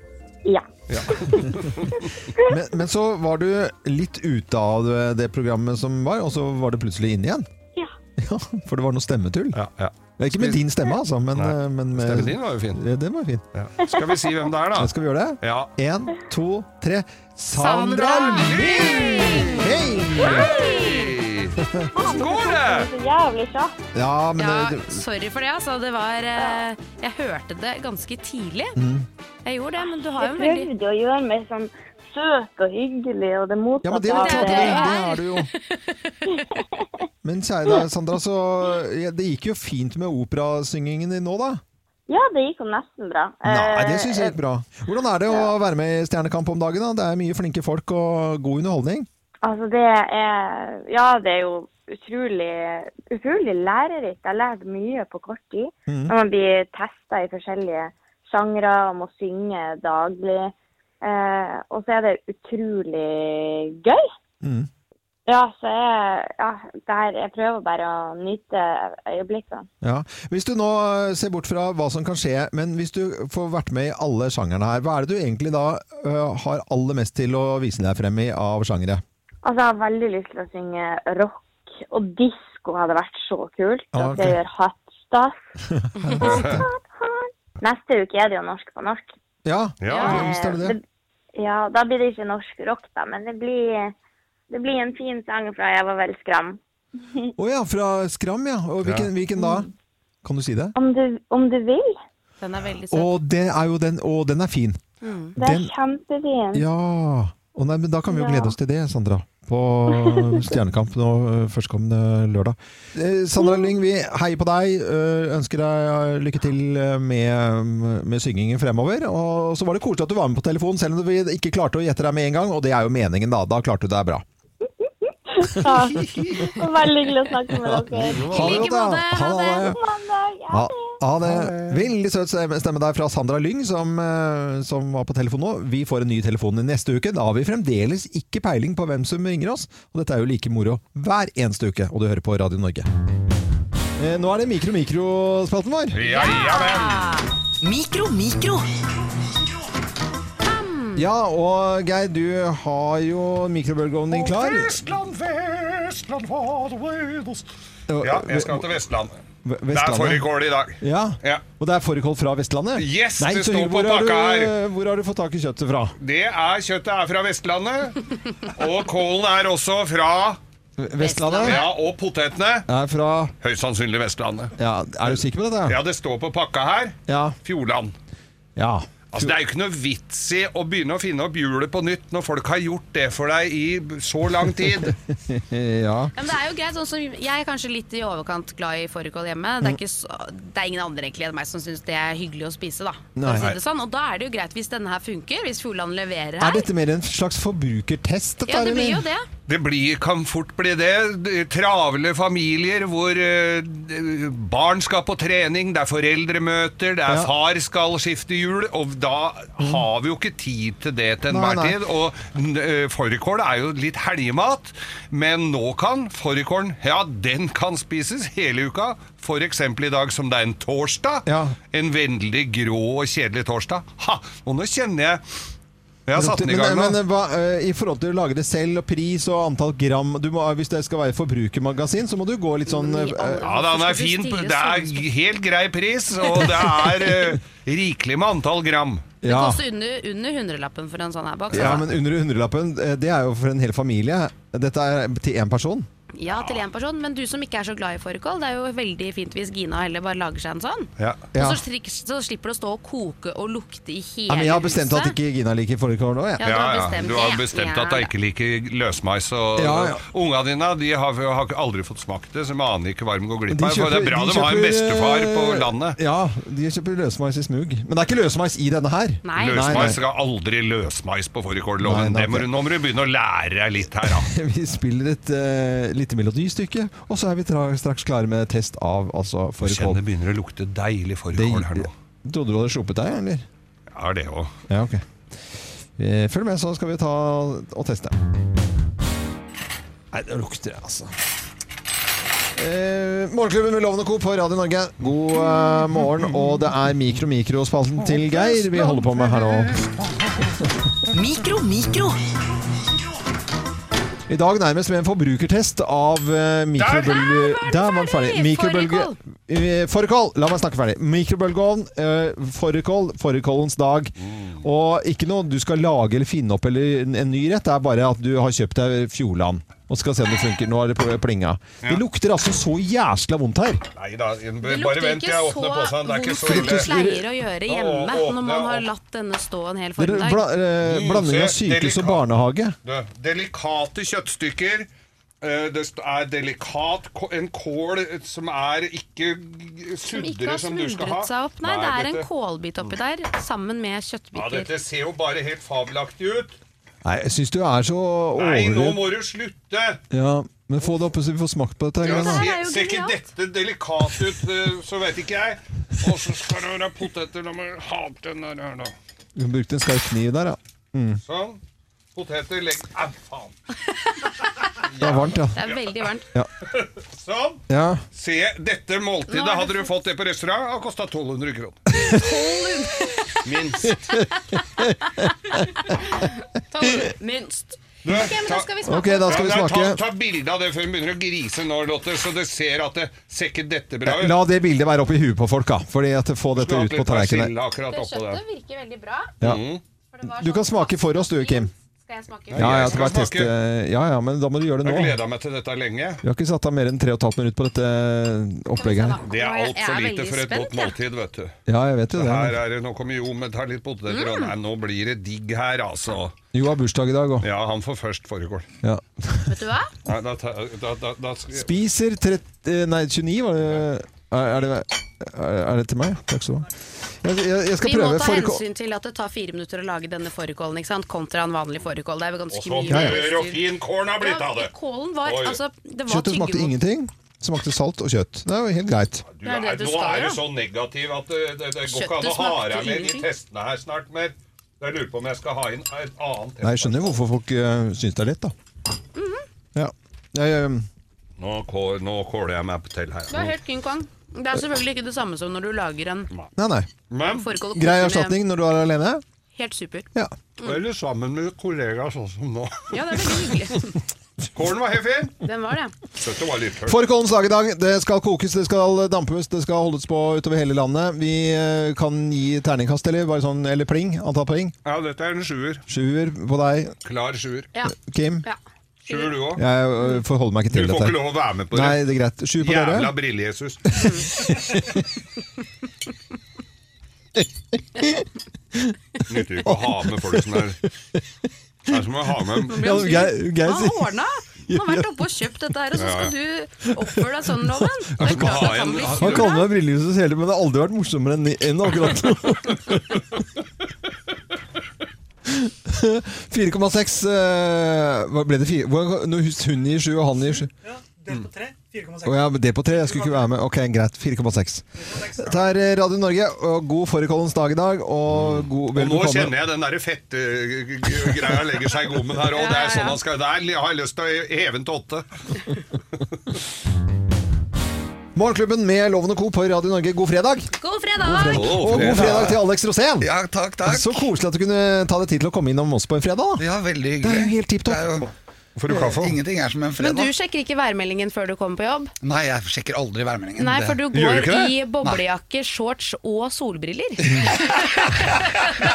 [SPEAKER 10] Ja.
[SPEAKER 1] Men, men så var du litt ute av det programmet som var, og så var det plutselig inn igjen.
[SPEAKER 10] Ja.
[SPEAKER 1] Ja, For det var noe stemmetull.
[SPEAKER 3] Ja, ja.
[SPEAKER 1] Det er Ikke med din stemme, altså, men,
[SPEAKER 3] Nei.
[SPEAKER 1] men med,
[SPEAKER 3] Stemmen din var jo fin.
[SPEAKER 1] Ja, Den var fin.
[SPEAKER 3] Ja. Skal vi si hvem det er, da?
[SPEAKER 1] Skal vi gjøre det?
[SPEAKER 3] Ja.
[SPEAKER 1] Én, to, tre. Sandra Lyng! Hei!
[SPEAKER 3] Skål!
[SPEAKER 10] Det er så jævlig kjapt.
[SPEAKER 1] Ja, men
[SPEAKER 2] Ja,
[SPEAKER 1] det,
[SPEAKER 2] sorry for det, altså. Det var eh, Jeg hørte det ganske tidlig.
[SPEAKER 1] Mm.
[SPEAKER 2] Jeg gjorde det, men du har jo
[SPEAKER 10] Jeg
[SPEAKER 2] en veldig
[SPEAKER 10] prøvde å gjøre meg sånn søt og hyggelig, og det
[SPEAKER 1] ja, men det,
[SPEAKER 10] motsatte
[SPEAKER 1] er klart,
[SPEAKER 10] av
[SPEAKER 1] det,
[SPEAKER 10] det.
[SPEAKER 1] det er du jo. Men kjære deg, Sandra, så ja, det gikk jo fint med operasyngingen din nå, da.
[SPEAKER 10] Ja, det gikk jo nesten bra.
[SPEAKER 1] Nei,
[SPEAKER 10] Eh,
[SPEAKER 1] det syns jeg gikk bra. Hvordan er det å være med i Stjernekamp om dagen? da? Det er mye flinke folk og god underholdning.
[SPEAKER 10] Altså, det er Ja, det er jo utrolig, utrolig lærerikt. Jeg har lært mye på kort tid.
[SPEAKER 1] Mhm.
[SPEAKER 10] Når man blir testa i forskjellige sjangre og må synge daglig. Eh, og så er det utrolig gøy.
[SPEAKER 1] Mm.
[SPEAKER 10] Ja, så jeg, ja, det her, jeg prøver bare å nyte øyeblikkene.
[SPEAKER 1] Ja. Hvis du nå eh, ser bort fra hva som kan skje, men hvis du får vært med i alle sjangerne her, hva er det du egentlig da eh, har aller mest til å vise deg frem i av sjangere?
[SPEAKER 10] Altså, jeg har veldig lyst til å synge rock, og disko hadde vært så kult.
[SPEAKER 1] Ja,
[SPEAKER 10] At jeg
[SPEAKER 1] ok.
[SPEAKER 10] gjør hot stuff. Hot, hot. Neste uke er det jo norsk på norsk.
[SPEAKER 1] Ja,
[SPEAKER 3] Ja.
[SPEAKER 1] visst er det det.
[SPEAKER 10] Ja, da blir det ikke norsk rock, da, men det blir, det blir en fin sang fra jeg var vel skram.
[SPEAKER 1] Å ja, fra Skram, ja. Og hvilken, hvilken da? Kan du si det?
[SPEAKER 10] Om du, om du vil.
[SPEAKER 2] Den er veldig søt.
[SPEAKER 1] Og det er jo den, og den er fin.
[SPEAKER 10] Det er
[SPEAKER 1] Den-
[SPEAKER 10] kjempefint.
[SPEAKER 1] Ja. Å nei, men da kan vi jo
[SPEAKER 10] Ja.
[SPEAKER 1] glede oss til det, Sandra. På Stjernekamp nå eh, førstkommende lørdag. Eh, Sandra Lyng, vi heier på deg. eh, Ønsker deg eh, lykke til eh, med, med syngingen fremover. Og så var det koselig at du var med på telefon, selv om vi ikke klarte å gjette deg med en gang. Og det er jo meningen, da. Da klarte du deg bra.
[SPEAKER 10] Ja. Veldig hyggelig å snakke med dere.
[SPEAKER 1] Ha det
[SPEAKER 2] like
[SPEAKER 1] godt, da.
[SPEAKER 2] måte.
[SPEAKER 1] Ha
[SPEAKER 2] Ha
[SPEAKER 1] det.
[SPEAKER 2] det.
[SPEAKER 10] Mandag, ja.
[SPEAKER 1] Ja, ha det. Veldig søt stemme stemme der fra Sandra Lyng, som, eh, som var på telefon nå. Vi får en ny telefon i neste uke. Da har vi fremdeles ikke peiling på hvem som ringer oss. Og dette er jo like moro hver eneste uke, og du hører på Radio Norge. Eh, Nå er det mikro-mikro-spalten vår.
[SPEAKER 3] Ja, ja vel.
[SPEAKER 11] Mikro, mikro.
[SPEAKER 3] Mm.
[SPEAKER 1] Ja, og Geir, du har jo mikrobølgeovnen din klar.
[SPEAKER 3] Vestland, Vestland, var the way those- Ja, jeg skal til Vestland.
[SPEAKER 1] V-
[SPEAKER 3] Det er
[SPEAKER 1] Vestlandet.
[SPEAKER 3] fårikål i dag.
[SPEAKER 1] Ja.
[SPEAKER 3] Ja.
[SPEAKER 1] Og det er fårikål fra Vestlandet?
[SPEAKER 3] Yes,
[SPEAKER 1] Nei,
[SPEAKER 3] det
[SPEAKER 1] så
[SPEAKER 3] står på
[SPEAKER 1] hvor har du-
[SPEAKER 3] pakka her.
[SPEAKER 1] Hvor har du fått tak i kjøttet fra?
[SPEAKER 3] Det er kjøttet er fra Vestlandet. Og kålen er også fra
[SPEAKER 1] Vestlandet
[SPEAKER 3] Ja, og potetene.
[SPEAKER 1] er fra
[SPEAKER 3] Høyst sannsynlig Vestlandet.
[SPEAKER 1] Ja, er du sikker på dette?
[SPEAKER 3] Ja, det står på pakka her.
[SPEAKER 1] Ja.
[SPEAKER 3] Fjordland.
[SPEAKER 1] ja.
[SPEAKER 3] Altså, Det er jo ikke noe vits i å begynne å finne opp hjulet på nytt når folk har gjort det for deg i så lang tid.
[SPEAKER 1] Eh, Ja.
[SPEAKER 2] Ja, men det er jo greit, sånn som Jeg er kanskje litt i overkant glad i fårikål hjemme.
[SPEAKER 1] Mm.
[SPEAKER 2] Det er, ikke så, det er ingen andre egentlig enn meg som syns det er hyggelig å spise. da For å
[SPEAKER 1] Nei.
[SPEAKER 2] si det sånn. Og da er det jo greit hvis denne her funker, hvis Fjordland leverer
[SPEAKER 1] Er
[SPEAKER 2] her.
[SPEAKER 1] dette mer en slags forbrukertest? dette
[SPEAKER 2] Ja,
[SPEAKER 1] her,
[SPEAKER 2] det blir jo
[SPEAKER 1] eller?
[SPEAKER 2] det.
[SPEAKER 3] Det blir, kan fort bli det. D- Travle familier hvor eh, d- barn skal på trening, det er foreldremøter, det er far skal skifte hjul, og da har vi jo ikke tid til det til
[SPEAKER 1] Nei,
[SPEAKER 3] enhver
[SPEAKER 1] nei.
[SPEAKER 3] tid. Og n- eh, fårikål er jo litt helgemat, men nå kan fårikålen Ja, den kan spises hele uka, f.eks. i dag som det er en torsdag. En veldig grå og kjedelig torsdag. Ha! Og nå kjenner jeg Jeg har satt den i gang
[SPEAKER 1] Men,
[SPEAKER 3] nå.
[SPEAKER 1] men hva, eh, i forhold til å lage det selv, og pris og antall gram du må, Hvis det skal være forbrukermagasin, så må du gå litt
[SPEAKER 2] Mm,
[SPEAKER 1] sånn eh,
[SPEAKER 3] Ja, da, den er fin. Det er helt grei pris, og det er eh, rikelig med antall gram.
[SPEAKER 2] Det
[SPEAKER 1] ja.
[SPEAKER 2] koster under, under hundrelappen for en sånn her bak.
[SPEAKER 1] ja, men under hundrelappen, eh, det er jo for en hel familie. Dette er til én person.
[SPEAKER 2] Ja, til én person, men du som ikke er så glad i fårikål, det er jo veldig fint hvis Gina heller bare lager seg en sånn.
[SPEAKER 1] Ja.
[SPEAKER 2] Og så, strik, så slipper du å stå og koke og lukte i hele
[SPEAKER 1] Ja, men jeg har bestemt at
[SPEAKER 2] huset.
[SPEAKER 1] ikke Gina liker fårikål nå, jeg.
[SPEAKER 2] Ja, du har bestemt
[SPEAKER 3] Du har
[SPEAKER 2] det.
[SPEAKER 3] bestemt
[SPEAKER 2] Ja,
[SPEAKER 3] at jeg ikke liker løsmeis. Og
[SPEAKER 1] Ja, ja.
[SPEAKER 3] unga dine de har, har aldri fått smakt det, så de aner ikke hva de går
[SPEAKER 1] Men
[SPEAKER 3] glipp av. For det er bra de, har en bestefar på
[SPEAKER 1] eh,
[SPEAKER 3] landet.
[SPEAKER 1] Ja, de kjøper løsmeis i smug. Men det er ikke løsmeis i denne her.
[SPEAKER 3] Løsmeis skal aldri løsmeis på
[SPEAKER 1] Nei,
[SPEAKER 3] fårikålloven.
[SPEAKER 1] nei,
[SPEAKER 3] Det må
[SPEAKER 1] ok.
[SPEAKER 3] du- Nå må du begynne å lære deg litt her, da.
[SPEAKER 1] Vi spiller et eh, lite melodistykke, og så er vi tra straks klare med test av altså, fårikål.
[SPEAKER 3] Kjenner det begynner å lukte deilig fårikål her nå.
[SPEAKER 1] Trodde du hadde sluppet deg, eller?
[SPEAKER 3] Ja, det òg.
[SPEAKER 1] Ja, ok. Eh, Følg med, så skal vi ta og teste. Nei, det lukter det, altså. Eh, Morgenklubben med Lovende Co. på Radio Norge. God eh, morgen, og det er mikro-mikro-spalten til Geir vi holder på med her nå.
[SPEAKER 11] Mikro, mikro.
[SPEAKER 1] I dag nærmest med en forbrukertest av eh, mikrobølge... Der var den ferdig! Mikrobølge... Eh, Fårikål! La meg snakke ferdig. Mikrobølgeovn, eh, fårikål, fårikålens dag.
[SPEAKER 3] Mm.
[SPEAKER 1] Og ikke noe du skal lage eller finne opp eller en, en ny rett, det er bare at du har kjøpt deg Fjordland. Og skal se om det funker. Nå er det på plinga. Det lukter altså så jæsla vondt her.
[SPEAKER 3] Nei da,
[SPEAKER 2] lukter
[SPEAKER 3] bare vent
[SPEAKER 2] ikke
[SPEAKER 3] til jeg åpner
[SPEAKER 2] så
[SPEAKER 3] posen. Det er ikke så
[SPEAKER 2] Som du
[SPEAKER 3] ille.
[SPEAKER 2] pleier å gjøre hjemme
[SPEAKER 3] Å, å,
[SPEAKER 2] når man har latt denne stå en hel
[SPEAKER 1] Dere,
[SPEAKER 2] formiddag.
[SPEAKER 1] bla,
[SPEAKER 3] Mm.
[SPEAKER 1] eh, blanding av sykehus og barnehage.
[SPEAKER 3] Du, delikate kjøttstykker. Eh, Det st- er delikat ko- en kål eh, som er ikke g-
[SPEAKER 2] Som ikke
[SPEAKER 3] suddere
[SPEAKER 2] har
[SPEAKER 3] som du skal ha.
[SPEAKER 2] smuldret seg opp. Nei, det er en
[SPEAKER 3] dette-
[SPEAKER 2] kålbit oppi der sammen med
[SPEAKER 3] Ja,
[SPEAKER 2] kjøttbiter.
[SPEAKER 3] dette ser jo bare helt fabelaktig ut.
[SPEAKER 1] Nei, jeg syns du er så
[SPEAKER 3] Nei, nå
[SPEAKER 1] over...
[SPEAKER 3] må du slutte!
[SPEAKER 1] Ja, men få det opp, så vi får smakt på dette. her,
[SPEAKER 3] Ja,
[SPEAKER 1] da.
[SPEAKER 3] ser, ser ikke dette delikat ut, eh, så vet ikke jeg. Og så skal det være poteter. La meg ha opp den der her, da.
[SPEAKER 1] Hun brukte en skarp kniv der, ja. Mm.
[SPEAKER 3] Sånn. Poteter, legg Au, faen!
[SPEAKER 1] Det er varmt, ja.
[SPEAKER 2] Det er veldig varmt.
[SPEAKER 1] Ja.
[SPEAKER 3] Sånn.
[SPEAKER 1] ja.
[SPEAKER 3] Se, dette måltidet hadde du fått det på restaurant, har kosta 1200 kroner. Minst.
[SPEAKER 2] Minst.
[SPEAKER 3] Du,
[SPEAKER 2] Ok, men da skal vi smake.
[SPEAKER 1] Ok, da skal vi
[SPEAKER 3] Ja, nei,
[SPEAKER 1] smake.
[SPEAKER 3] Ta, ta bilde av det før hun begynner å grise nå, Lotte, så du ser at det ser ikke dette bra ut.
[SPEAKER 1] Eh, La det bildet være oppi huet på folk, da. Fordi at få dette
[SPEAKER 3] Skulle hatt
[SPEAKER 1] ut på
[SPEAKER 3] litt persille
[SPEAKER 1] tallerkenen.
[SPEAKER 3] akkurat
[SPEAKER 2] Det
[SPEAKER 3] oppå der.
[SPEAKER 2] kjøttet virker veldig bra.
[SPEAKER 1] Ja.
[SPEAKER 3] Mm.
[SPEAKER 2] For det var
[SPEAKER 1] Du kan
[SPEAKER 2] sånn-
[SPEAKER 1] smake for oss, du, Kim.
[SPEAKER 2] Skal jeg
[SPEAKER 1] Ja,
[SPEAKER 2] smake?
[SPEAKER 1] ja,
[SPEAKER 3] jeg
[SPEAKER 1] skal
[SPEAKER 3] skal
[SPEAKER 1] bare teste. ja, ja, men da må du gjøre det nå.
[SPEAKER 3] Jeg har gleda meg til dette lenge.
[SPEAKER 1] Vi har ikke satt av mer enn 3 15 minutter på dette opplegget her.
[SPEAKER 3] Det er
[SPEAKER 2] Jeg er
[SPEAKER 3] altfor lite
[SPEAKER 2] veldig
[SPEAKER 3] for et godt
[SPEAKER 2] spent, jeg.
[SPEAKER 3] måltid, vet du.
[SPEAKER 1] Ja, jeg vet jo
[SPEAKER 3] Det
[SPEAKER 1] det.
[SPEAKER 3] her er det, Nå kommer Jo med ta litt
[SPEAKER 2] Mm.
[SPEAKER 3] poteter, og nei, nå blir det digg her, altså.
[SPEAKER 1] Jo har bursdag i dag òg.
[SPEAKER 3] Ja, han får først fårikål.
[SPEAKER 1] Ja.
[SPEAKER 2] Vet du hva?
[SPEAKER 3] Nei, da, ta- da, da, da skal jeg-
[SPEAKER 1] Spiser 30 Nei, 29 var det Er er det, er det til meg? Takk skal du ha. Jeg, jeg, jeg skal
[SPEAKER 2] Vi må
[SPEAKER 1] prøve
[SPEAKER 2] ta
[SPEAKER 1] fårikål.
[SPEAKER 2] hensyn til at det tar fire minutter å lage denne fårikålen, ikke sant? Kontra en vanlig fårikål. Det er jo
[SPEAKER 3] Og sånn
[SPEAKER 2] ganske
[SPEAKER 3] så
[SPEAKER 2] mye
[SPEAKER 3] brød og
[SPEAKER 2] utstyr.
[SPEAKER 3] fin korn har blitt av
[SPEAKER 2] Ja,
[SPEAKER 3] det.
[SPEAKER 2] Kålen var
[SPEAKER 3] Oi.
[SPEAKER 2] altså Det var
[SPEAKER 1] Kjøttet smakte
[SPEAKER 2] tyggemot.
[SPEAKER 1] ingenting. Smakte salt og kjøtt. Det er jo helt greit.
[SPEAKER 3] Du,
[SPEAKER 2] Det er det
[SPEAKER 3] er,
[SPEAKER 2] du
[SPEAKER 3] nå
[SPEAKER 2] skal,
[SPEAKER 3] er du
[SPEAKER 2] ja.
[SPEAKER 3] så negativ at det, det, det går ikke an å
[SPEAKER 2] Kjøttet
[SPEAKER 3] ha
[SPEAKER 2] smakte
[SPEAKER 3] deg med i de
[SPEAKER 2] ingenting.
[SPEAKER 3] testene her snart mer. Jeg lurer på om jeg skal ha inn et annet
[SPEAKER 1] Nei,
[SPEAKER 3] test.
[SPEAKER 1] jeg skjønner jo hvorfor folk uh, syns det er lett, da.
[SPEAKER 2] Mhm.
[SPEAKER 1] Ja. Jeg, eh,
[SPEAKER 3] Nå, kå- nå kåler jeg meg til her.
[SPEAKER 2] Det er helt king kong. Det er selvfølgelig ikke det samme som når du lager en
[SPEAKER 1] nei, nei.
[SPEAKER 3] Men
[SPEAKER 2] fårikål. og
[SPEAKER 1] Grei
[SPEAKER 2] koker med-
[SPEAKER 1] erstatning når du er alene?
[SPEAKER 2] Helt super.
[SPEAKER 1] Ja.
[SPEAKER 3] eller sammen med kollegaer sånn som nå.
[SPEAKER 2] Ja, det er veldig hyggelig.
[SPEAKER 3] Kålen var helt fin.
[SPEAKER 2] Den var det.
[SPEAKER 3] Kjøttet var litt tørt.
[SPEAKER 1] Fårikålens dag i dag. Det skal kokes, det skal dampes, det skal holdes på utover hele landet. Vi eh, kan gi terningkast, eller bare sånn, eller pling. Antall poeng.
[SPEAKER 3] Ja, dette er en sjuer.
[SPEAKER 1] Sjuer på deg,
[SPEAKER 3] Klar sjuer.
[SPEAKER 2] Ja.
[SPEAKER 1] Kim.
[SPEAKER 2] ja.
[SPEAKER 3] Sjuer du òg.
[SPEAKER 1] Jeg eh, forholder meg ikke til
[SPEAKER 3] Du får
[SPEAKER 1] dette.
[SPEAKER 3] ikke lov å være med på det.
[SPEAKER 1] Nei, det er greit. Sju på
[SPEAKER 3] Jævla
[SPEAKER 1] dere.
[SPEAKER 3] brille-Jesus. Nytter ikke å ha med folk som er Det er som å ha med
[SPEAKER 1] Ja, Geir, Geir
[SPEAKER 2] Han har
[SPEAKER 1] sier
[SPEAKER 2] ordna! Han har vært oppe og kjøpt dette her, og så
[SPEAKER 3] Ja, ja.
[SPEAKER 2] skal du oppføre deg sånn, Loven? Det er klart at han blir
[SPEAKER 1] han
[SPEAKER 2] sur.
[SPEAKER 1] kaller meg Brillehuset hele, men det har aldri vært morsommere enn enn akkurat nå. 4,6 eh, hva Ble det fire? Hvor- Nå hus- hun gir 7 og han gir 7.
[SPEAKER 12] Delt på tre. 4,6.
[SPEAKER 1] Å ja, det på tre, jeg skulle ikke være med. Ok, greit. 4,6. Det er eh, Radio Norge, og god fårikålens dag i dag. Og god
[SPEAKER 3] Og nå
[SPEAKER 1] velbekomme.
[SPEAKER 3] kjenner jeg den der fette g- g- greia legger seg i gommen her òg. Det er sånn han skal Der har jeg lyst til å heve den til åtte.
[SPEAKER 1] Morgenklubben med Lovende Co. på Radio Norge, god fredag!
[SPEAKER 2] God
[SPEAKER 1] God
[SPEAKER 2] fredag!
[SPEAKER 1] fredag. Og god fredag til Alex Rosén!
[SPEAKER 7] Ja, takk, takk.
[SPEAKER 1] Så koselig at du kunne ta deg tid til å komme innom oss på en fredag. Da.
[SPEAKER 7] Ja, veldig
[SPEAKER 1] hyggelig. Det er jo helt tipp topp.
[SPEAKER 3] Får du kaffe?
[SPEAKER 13] Ingenting er som en
[SPEAKER 2] Men du
[SPEAKER 13] fredag.
[SPEAKER 2] sjekker ikke værmeldingen før du kommer på jobb?
[SPEAKER 13] Nei, jeg sjekker aldri værmeldingen.
[SPEAKER 2] Nei,
[SPEAKER 13] Det-
[SPEAKER 2] for du går i boblejakke, shorts og solbriller.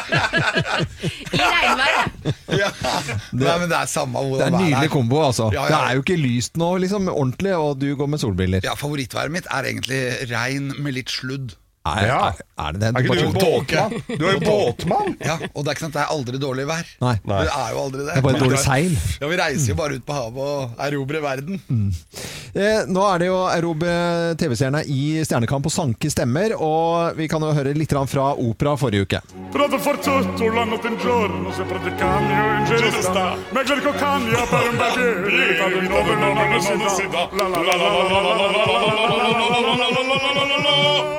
[SPEAKER 2] I regnvær.
[SPEAKER 13] Ja. Nei, men det er
[SPEAKER 1] Det er
[SPEAKER 13] samme
[SPEAKER 1] en
[SPEAKER 13] hvordan været
[SPEAKER 1] nydelig kombo, altså.
[SPEAKER 13] Ja, ja,
[SPEAKER 1] Det
[SPEAKER 13] ja.
[SPEAKER 1] er jo ikke lyst nå, liksom, ordentlig, og du går med solbriller.
[SPEAKER 13] Ja, favorittværet mitt er egentlig regn med litt sludd.
[SPEAKER 1] Er, er, er det det? bare tåke.
[SPEAKER 3] Du er jo båtmann!
[SPEAKER 13] Ja, og det er ikke sant, det er aldri dårlig vær.
[SPEAKER 1] Nei.
[SPEAKER 13] Det er jo aldri det.
[SPEAKER 1] Det er bare dårlig seil.
[SPEAKER 13] Ja, Vi reiser jo bare ut på havet og erobrer verden.
[SPEAKER 1] Eh, nå er det jo Erobe TV-seerne i Stjernekamp og sanke stemmer, og vi kan jo høre litt grann fra opera forrige uke.
[SPEAKER 14] Provo forzuto l'anno d'un giorno, sempre di cambio in giro sta. Ma cerco cambio per un bagliere, cambio dove non non si dà. La la la la la la la la la la la la la la la la la la la la.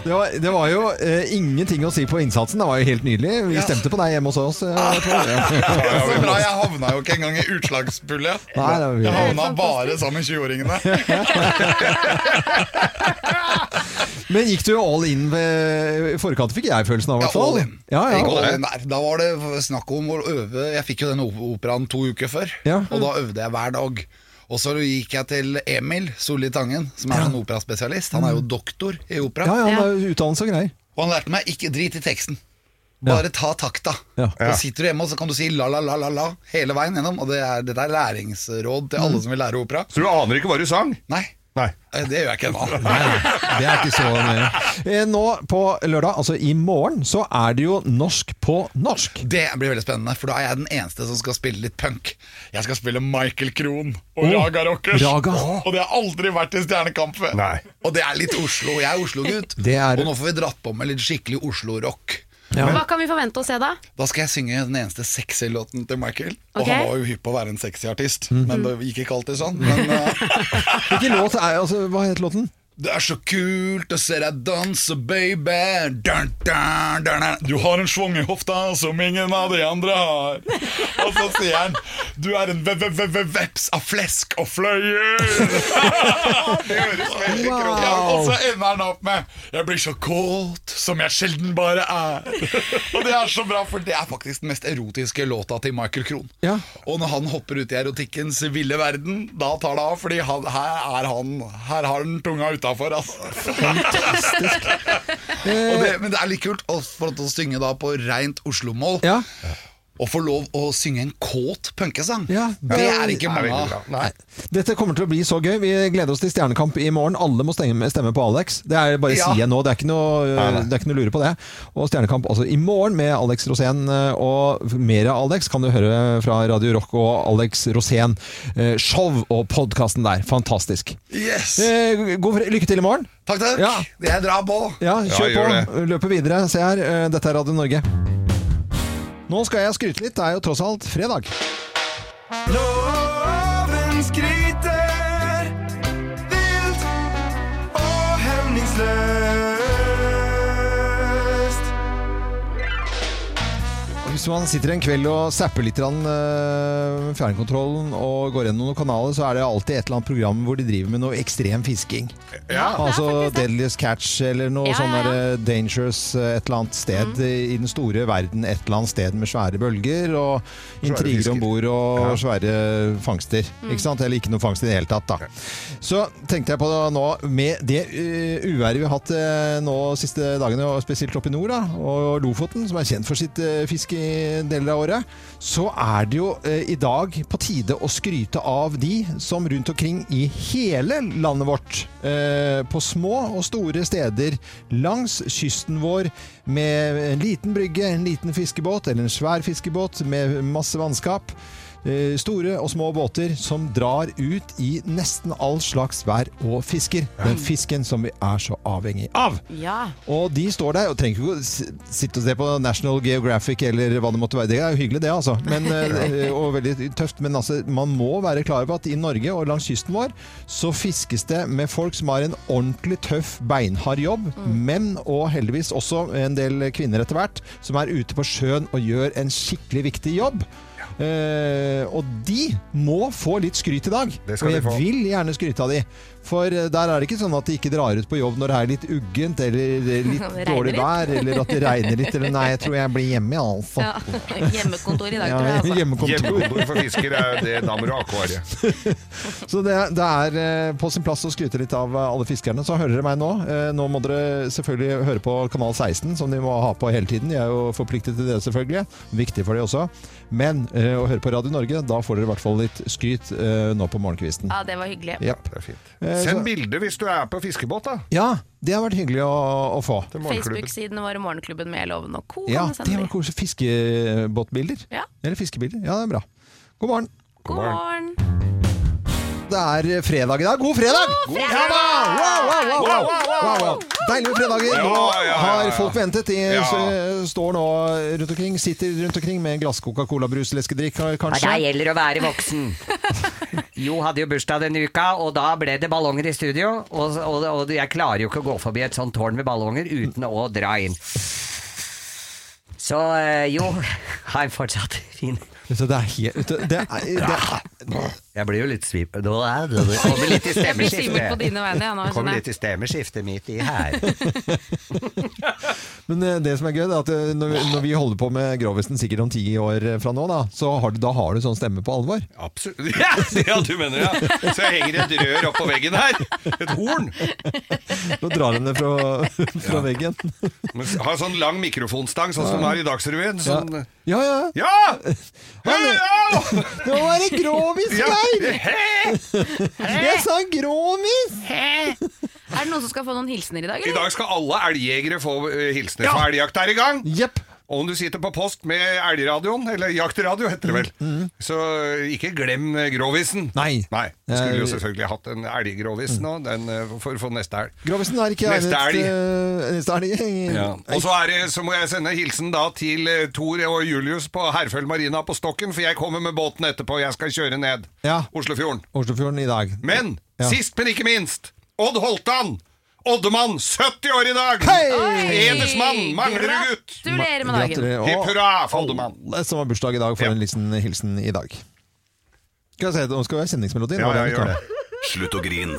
[SPEAKER 1] Det var, det var jo eh, ingenting å si på innsatsen, det var jo helt nydelig. Vi
[SPEAKER 13] Ja.
[SPEAKER 1] stemte på deg hjemme hos oss. Eh, Pål. Ja.
[SPEAKER 13] Så bra, jeg havna jo ikke engang i utslagspullet.
[SPEAKER 1] Nei, det er jo-
[SPEAKER 13] Jeg havna bare sammen med 20-åringene.
[SPEAKER 1] Men gikk du all in ved, i forkant, fikk jeg følelsen av. i
[SPEAKER 13] Ja,
[SPEAKER 1] hvert fall.
[SPEAKER 13] all in.
[SPEAKER 1] Ja, ja.
[SPEAKER 13] Jeg gikk all in der. Da var det snakk om å øve Jeg fikk jo den op- operaen to uker før, og da øvde jeg hver dag. Og så gikk jeg til Emil Solli Tangen, som er en operaspesialist. Han er jo doktor i
[SPEAKER 1] Mm.
[SPEAKER 13] opera.
[SPEAKER 1] Ja, ja, han har jo utdannelse og greier.
[SPEAKER 13] Og han lærte meg ikke drit i teksten. Bare ta takta. Og sitter du hjemme, og så kan du si la, la, la, la, la hele veien gjennom. Og det er, dette er læringsråd til
[SPEAKER 1] Mm.
[SPEAKER 13] alle som vil lære opera.
[SPEAKER 3] Så du aner ikke hva du sang?
[SPEAKER 13] Nei.
[SPEAKER 3] Nei.
[SPEAKER 13] Eh, Det gjør jeg ikke ennå.
[SPEAKER 1] Det er ikke så nøye. Eh, Nå på lørdag, altså i morgen, så er det jo norsk på norsk.
[SPEAKER 13] Det blir veldig spennende, for da er jeg den eneste som skal spille litt punk. Jeg skal spille Michael Krohn og
[SPEAKER 1] Åh,
[SPEAKER 13] Raga Rockers.
[SPEAKER 1] Raga.
[SPEAKER 13] Og det har aldri vært i Stjernekamp før.
[SPEAKER 3] Nei.
[SPEAKER 13] Og det er litt Oslo. Jeg er Oslo-gutt,
[SPEAKER 1] Det er-
[SPEAKER 13] og nå får vi dratt på med litt skikkelig Oslo-rock.
[SPEAKER 2] Hva kan vi forvente å se da?
[SPEAKER 13] Da skal jeg synge den eneste sexy låten til Michael. Og
[SPEAKER 2] Ok.
[SPEAKER 13] han var jo hypp på å være en sexy artist,
[SPEAKER 1] Mhm.
[SPEAKER 13] men det gikk ikke alltid sånn. Men
[SPEAKER 1] Hvilken låt er altså, Hva het låten?
[SPEAKER 13] Det er så kult å se deg danse, baby. Dun, dun, dun, dun. Du har en schwung i hofta som ingen av de andre har. Og så sier han Du er en ve- ve- ve- ve- veps av flesk og fløyer. det høres veldig
[SPEAKER 1] Wow.
[SPEAKER 13] krokt ut. Og så ender han opp med Jeg blir så kåt som jeg sjelden bare er. og det er så bra, for det er faktisk den mest erotiske låta til Michael Krohn.
[SPEAKER 1] Ja.
[SPEAKER 13] Og når han hopper ut i erotikkens ville verden, da tar det av, fordi han, her, er han, her har han tunga utafor. Altså. Og det, men det er litt kult å få lov til å synge da på reint Oslo-mål.
[SPEAKER 1] Ja.
[SPEAKER 13] Og få lov å synge en kåt punkesang.
[SPEAKER 1] Ja,
[SPEAKER 13] det er ikke mange
[SPEAKER 3] veldig
[SPEAKER 13] av.
[SPEAKER 3] bra. Nei.
[SPEAKER 1] Dette kommer til å bli så gøy. Vi gleder oss til Stjernekamp i morgen. Alle må stemme, stemme på Alex. Det er bare
[SPEAKER 13] Ja.
[SPEAKER 1] sier jeg nå. Det er ikke noe, det er ikke noe lure på det. Og Stjernekamp altså i morgen med Alex Rosén. eh, Og mer av Alex kan du høre fra Radio Rock og Alex Rosén eh, show og podkasten der. Fantastisk.
[SPEAKER 13] Yes!
[SPEAKER 1] Eh, God, fre- lykke til i morgen.
[SPEAKER 13] Takk, takk.
[SPEAKER 1] Ja.
[SPEAKER 13] Jeg drar på.
[SPEAKER 1] Ja, kjør
[SPEAKER 3] gjør
[SPEAKER 1] på. Løper videre. Se her. eh, Dette er Radio Norge. Nå skal jeg skryte litt. Det er jo tross alt fredag.
[SPEAKER 15] Loven skryter vilt og hemningsløst.
[SPEAKER 1] Og Hvis man sitter en kveld og zapper litt grann, eh, med fjernkontrollen og går gjennom noen kanaler, så er det alltid et eller annet program hvor de driver med noe ekstrem fisking.
[SPEAKER 3] Ja.
[SPEAKER 1] Altså Deadliest Catch eller noe
[SPEAKER 3] Ja,
[SPEAKER 1] sånn
[SPEAKER 3] ja, Mm.
[SPEAKER 1] der, eh, Dangerous eh, et eller annet sted i- i den store verden, et eller annet sted med svære bølger og intriger
[SPEAKER 3] fisker.
[SPEAKER 1] om bord og svære fangster. Ikke sant? Eller ikke noe fangst i det hele tatt, da. Så tenkte jeg på det nå, med det eh, uværet vi har hatt eh, nå siste dagene, og spesielt oppe i nord, da, og Lofoten, som er kjent for sitt eh, fiske i deler av året, så er det jo eh, i dag på tide å skryte av de som rundt omkring i hele landet vårt, eh, på små og store steder langs kysten vår, med en liten brygge, en liten fiskebåt eller en svær fiskebåt med masse vannskap, eh, store og små båter som drar ut i nesten all slags vær og fisker. Den fisken som vi er så avhengig av.
[SPEAKER 2] Ja.
[SPEAKER 1] Og de står der, og trenger ikke å s- sitte og se på National Geographic eller hva det måtte være. Det er jo hyggelig det, altså. Men, eh, og veldig tøft. Men altså, man må være klar på at i Norge og langs kysten vår så fiskes det med folk som har en ordentlig tøff, beinhard jobb.
[SPEAKER 3] Mm.
[SPEAKER 1] Menn, og heldigvis også en del kvinner etter hvert, som er ute på sjøen og gjør en skikkelig viktig jobb. Eh, og de må få litt skryt i dag.
[SPEAKER 3] skal
[SPEAKER 1] og
[SPEAKER 3] de
[SPEAKER 1] jeg
[SPEAKER 3] få.
[SPEAKER 1] vil gjerne skryte av de. For eh, der er det ikke sånn at de ikke drar ut på jobb når det er litt uggent eller eh, litt
[SPEAKER 2] Det regner
[SPEAKER 1] dårlig
[SPEAKER 2] litt.
[SPEAKER 1] vær, eller at det regner litt. Eller nei, jeg tror jeg blir hjemme, ja, altså.
[SPEAKER 2] Ja. Hjemmekontor i dag, tror jeg.
[SPEAKER 1] Ja,
[SPEAKER 2] Altså.
[SPEAKER 1] hjemmekontor.
[SPEAKER 3] Hjemmekontor for fisker, er det, da må du ha akvariet.
[SPEAKER 1] Så det, det er eh, på sin plass å skryte litt av eh, alle fiskerne. Så hører dere meg nå. Eh, Nå må dere selvfølgelig høre på Kanal 16, som de må ha på hele tiden. De er jo forpliktet til det, selvfølgelig. Viktig for de også. Men eh, å høre på Radio Norge, da får dere i hvert fall litt skryt eh, nå på morgenkvisten.
[SPEAKER 2] Ja, det var hyggelig.
[SPEAKER 1] Japp. Eh,
[SPEAKER 3] Send
[SPEAKER 1] så-
[SPEAKER 3] bilde hvis du er på fiskebåt, da.
[SPEAKER 1] Ja, det har vært hyggelig å, å få.
[SPEAKER 2] Facebook-sidene våre Morgenklubben med Loven og Co.
[SPEAKER 1] Ja,
[SPEAKER 2] kan du sende
[SPEAKER 1] det var koselig. Fiskebåtbilder.
[SPEAKER 2] Ja.
[SPEAKER 1] Eller fiskebilder. Ja, det er bra. God morgen.
[SPEAKER 2] God morgen.
[SPEAKER 1] Det er eh, fredag i dag. God fredag!
[SPEAKER 2] God fredag!
[SPEAKER 1] Ja da! Wow, wow, wow, wow.
[SPEAKER 2] Wow, wow, wow.
[SPEAKER 1] Wow, wow. Deilige fredager.
[SPEAKER 3] Ja,
[SPEAKER 1] Nå
[SPEAKER 3] ja, ja, ja.
[SPEAKER 1] har folk ventet. De
[SPEAKER 3] Ja.
[SPEAKER 1] s- står nå rundt omkring, sitter rundt omkring med en glass Coca-Cola-brus, leskedrikk kanskje.
[SPEAKER 16] Ja, der gjelder det å være voksen. Jo hadde jo bursdag denne uka, og da ble det ballonger i studio. Og, og, og jeg klarer jo ikke å gå forbi et sånt tårn med ballonger uten å dra inn. Så eh, jo, ha en fortsatt fin
[SPEAKER 1] Vet du, Det er helt vet du, det er, det er,
[SPEAKER 16] Jeg blir jo litt svip... Det kommer litt i
[SPEAKER 2] Jeg blir
[SPEAKER 16] stemmeskiftet.
[SPEAKER 2] svimmel på dine vegne, jeg nå,
[SPEAKER 16] Det kommer
[SPEAKER 2] skjønner jeg.
[SPEAKER 16] litt i stemmeskiftet midt i her.
[SPEAKER 1] Men eh, det som er gøy, det er at eh, når vi, når vi holder på med Grovisen sikkert om ti år eh, fra nå, da, så har du, da har du sånn stemme på alvor.
[SPEAKER 3] Absolutt. Ja, ja, du mener ja. Så jeg henger et rør oppå veggen her. Et horn.
[SPEAKER 1] Nå drar den det fra, fra veggen.
[SPEAKER 3] Men Ha sånn lang mikrofonstang, sånn som den er i Dagsrevyen. Sånn.
[SPEAKER 1] Ja, ja.
[SPEAKER 3] Ja!
[SPEAKER 1] Nå er det grovis,
[SPEAKER 3] Ja.
[SPEAKER 1] Jeg sa grovis!
[SPEAKER 2] Er det noen som skal få noen hilsener i dag,
[SPEAKER 3] I
[SPEAKER 2] eller?
[SPEAKER 3] dag skal alle elgjegere få eh, hilsener, for elgjakt er i gang. Og om du sitter på post med elgradioen, eller jaktradio heter det vel, så ikke glem eh, grovisen.
[SPEAKER 1] Nei.
[SPEAKER 3] Du skulle jo
[SPEAKER 1] Eh,
[SPEAKER 3] selvfølgelig hatt en elggrovis nå, den, eh, for å få neste elg.
[SPEAKER 1] Grovisen er ikke
[SPEAKER 3] Neste
[SPEAKER 1] egnet,
[SPEAKER 3] elg.
[SPEAKER 1] eh, Neste elg.
[SPEAKER 3] Ja. Og så, er det, så må jeg sende hilsen da til eh, Tor og Julius på Herføl Marina på Stokken, for jeg kommer med båten etterpå, jeg skal kjøre ned
[SPEAKER 1] Ja.
[SPEAKER 3] Oslofjorden.
[SPEAKER 1] Oslofjorden i dag.
[SPEAKER 3] Men
[SPEAKER 1] Ja.
[SPEAKER 3] sist, men ikke minst, Odd Holtan! Oddemann, 70 år i dag!
[SPEAKER 1] Hei!
[SPEAKER 3] Hedersmann, Manglerud-gutt!
[SPEAKER 2] Gratulerer med dagen.
[SPEAKER 1] Gratulerer.
[SPEAKER 3] Hipp hurra for Oddemann.
[SPEAKER 1] Alle som har bursdag i dag, får en liten hilsen i dag. Skal jeg se, nå skal vi ha kjenningsmelodien.
[SPEAKER 17] Ja,
[SPEAKER 1] Hva er
[SPEAKER 17] jeg
[SPEAKER 1] vi
[SPEAKER 17] gjør
[SPEAKER 1] kan?
[SPEAKER 17] det. Slutt å grin.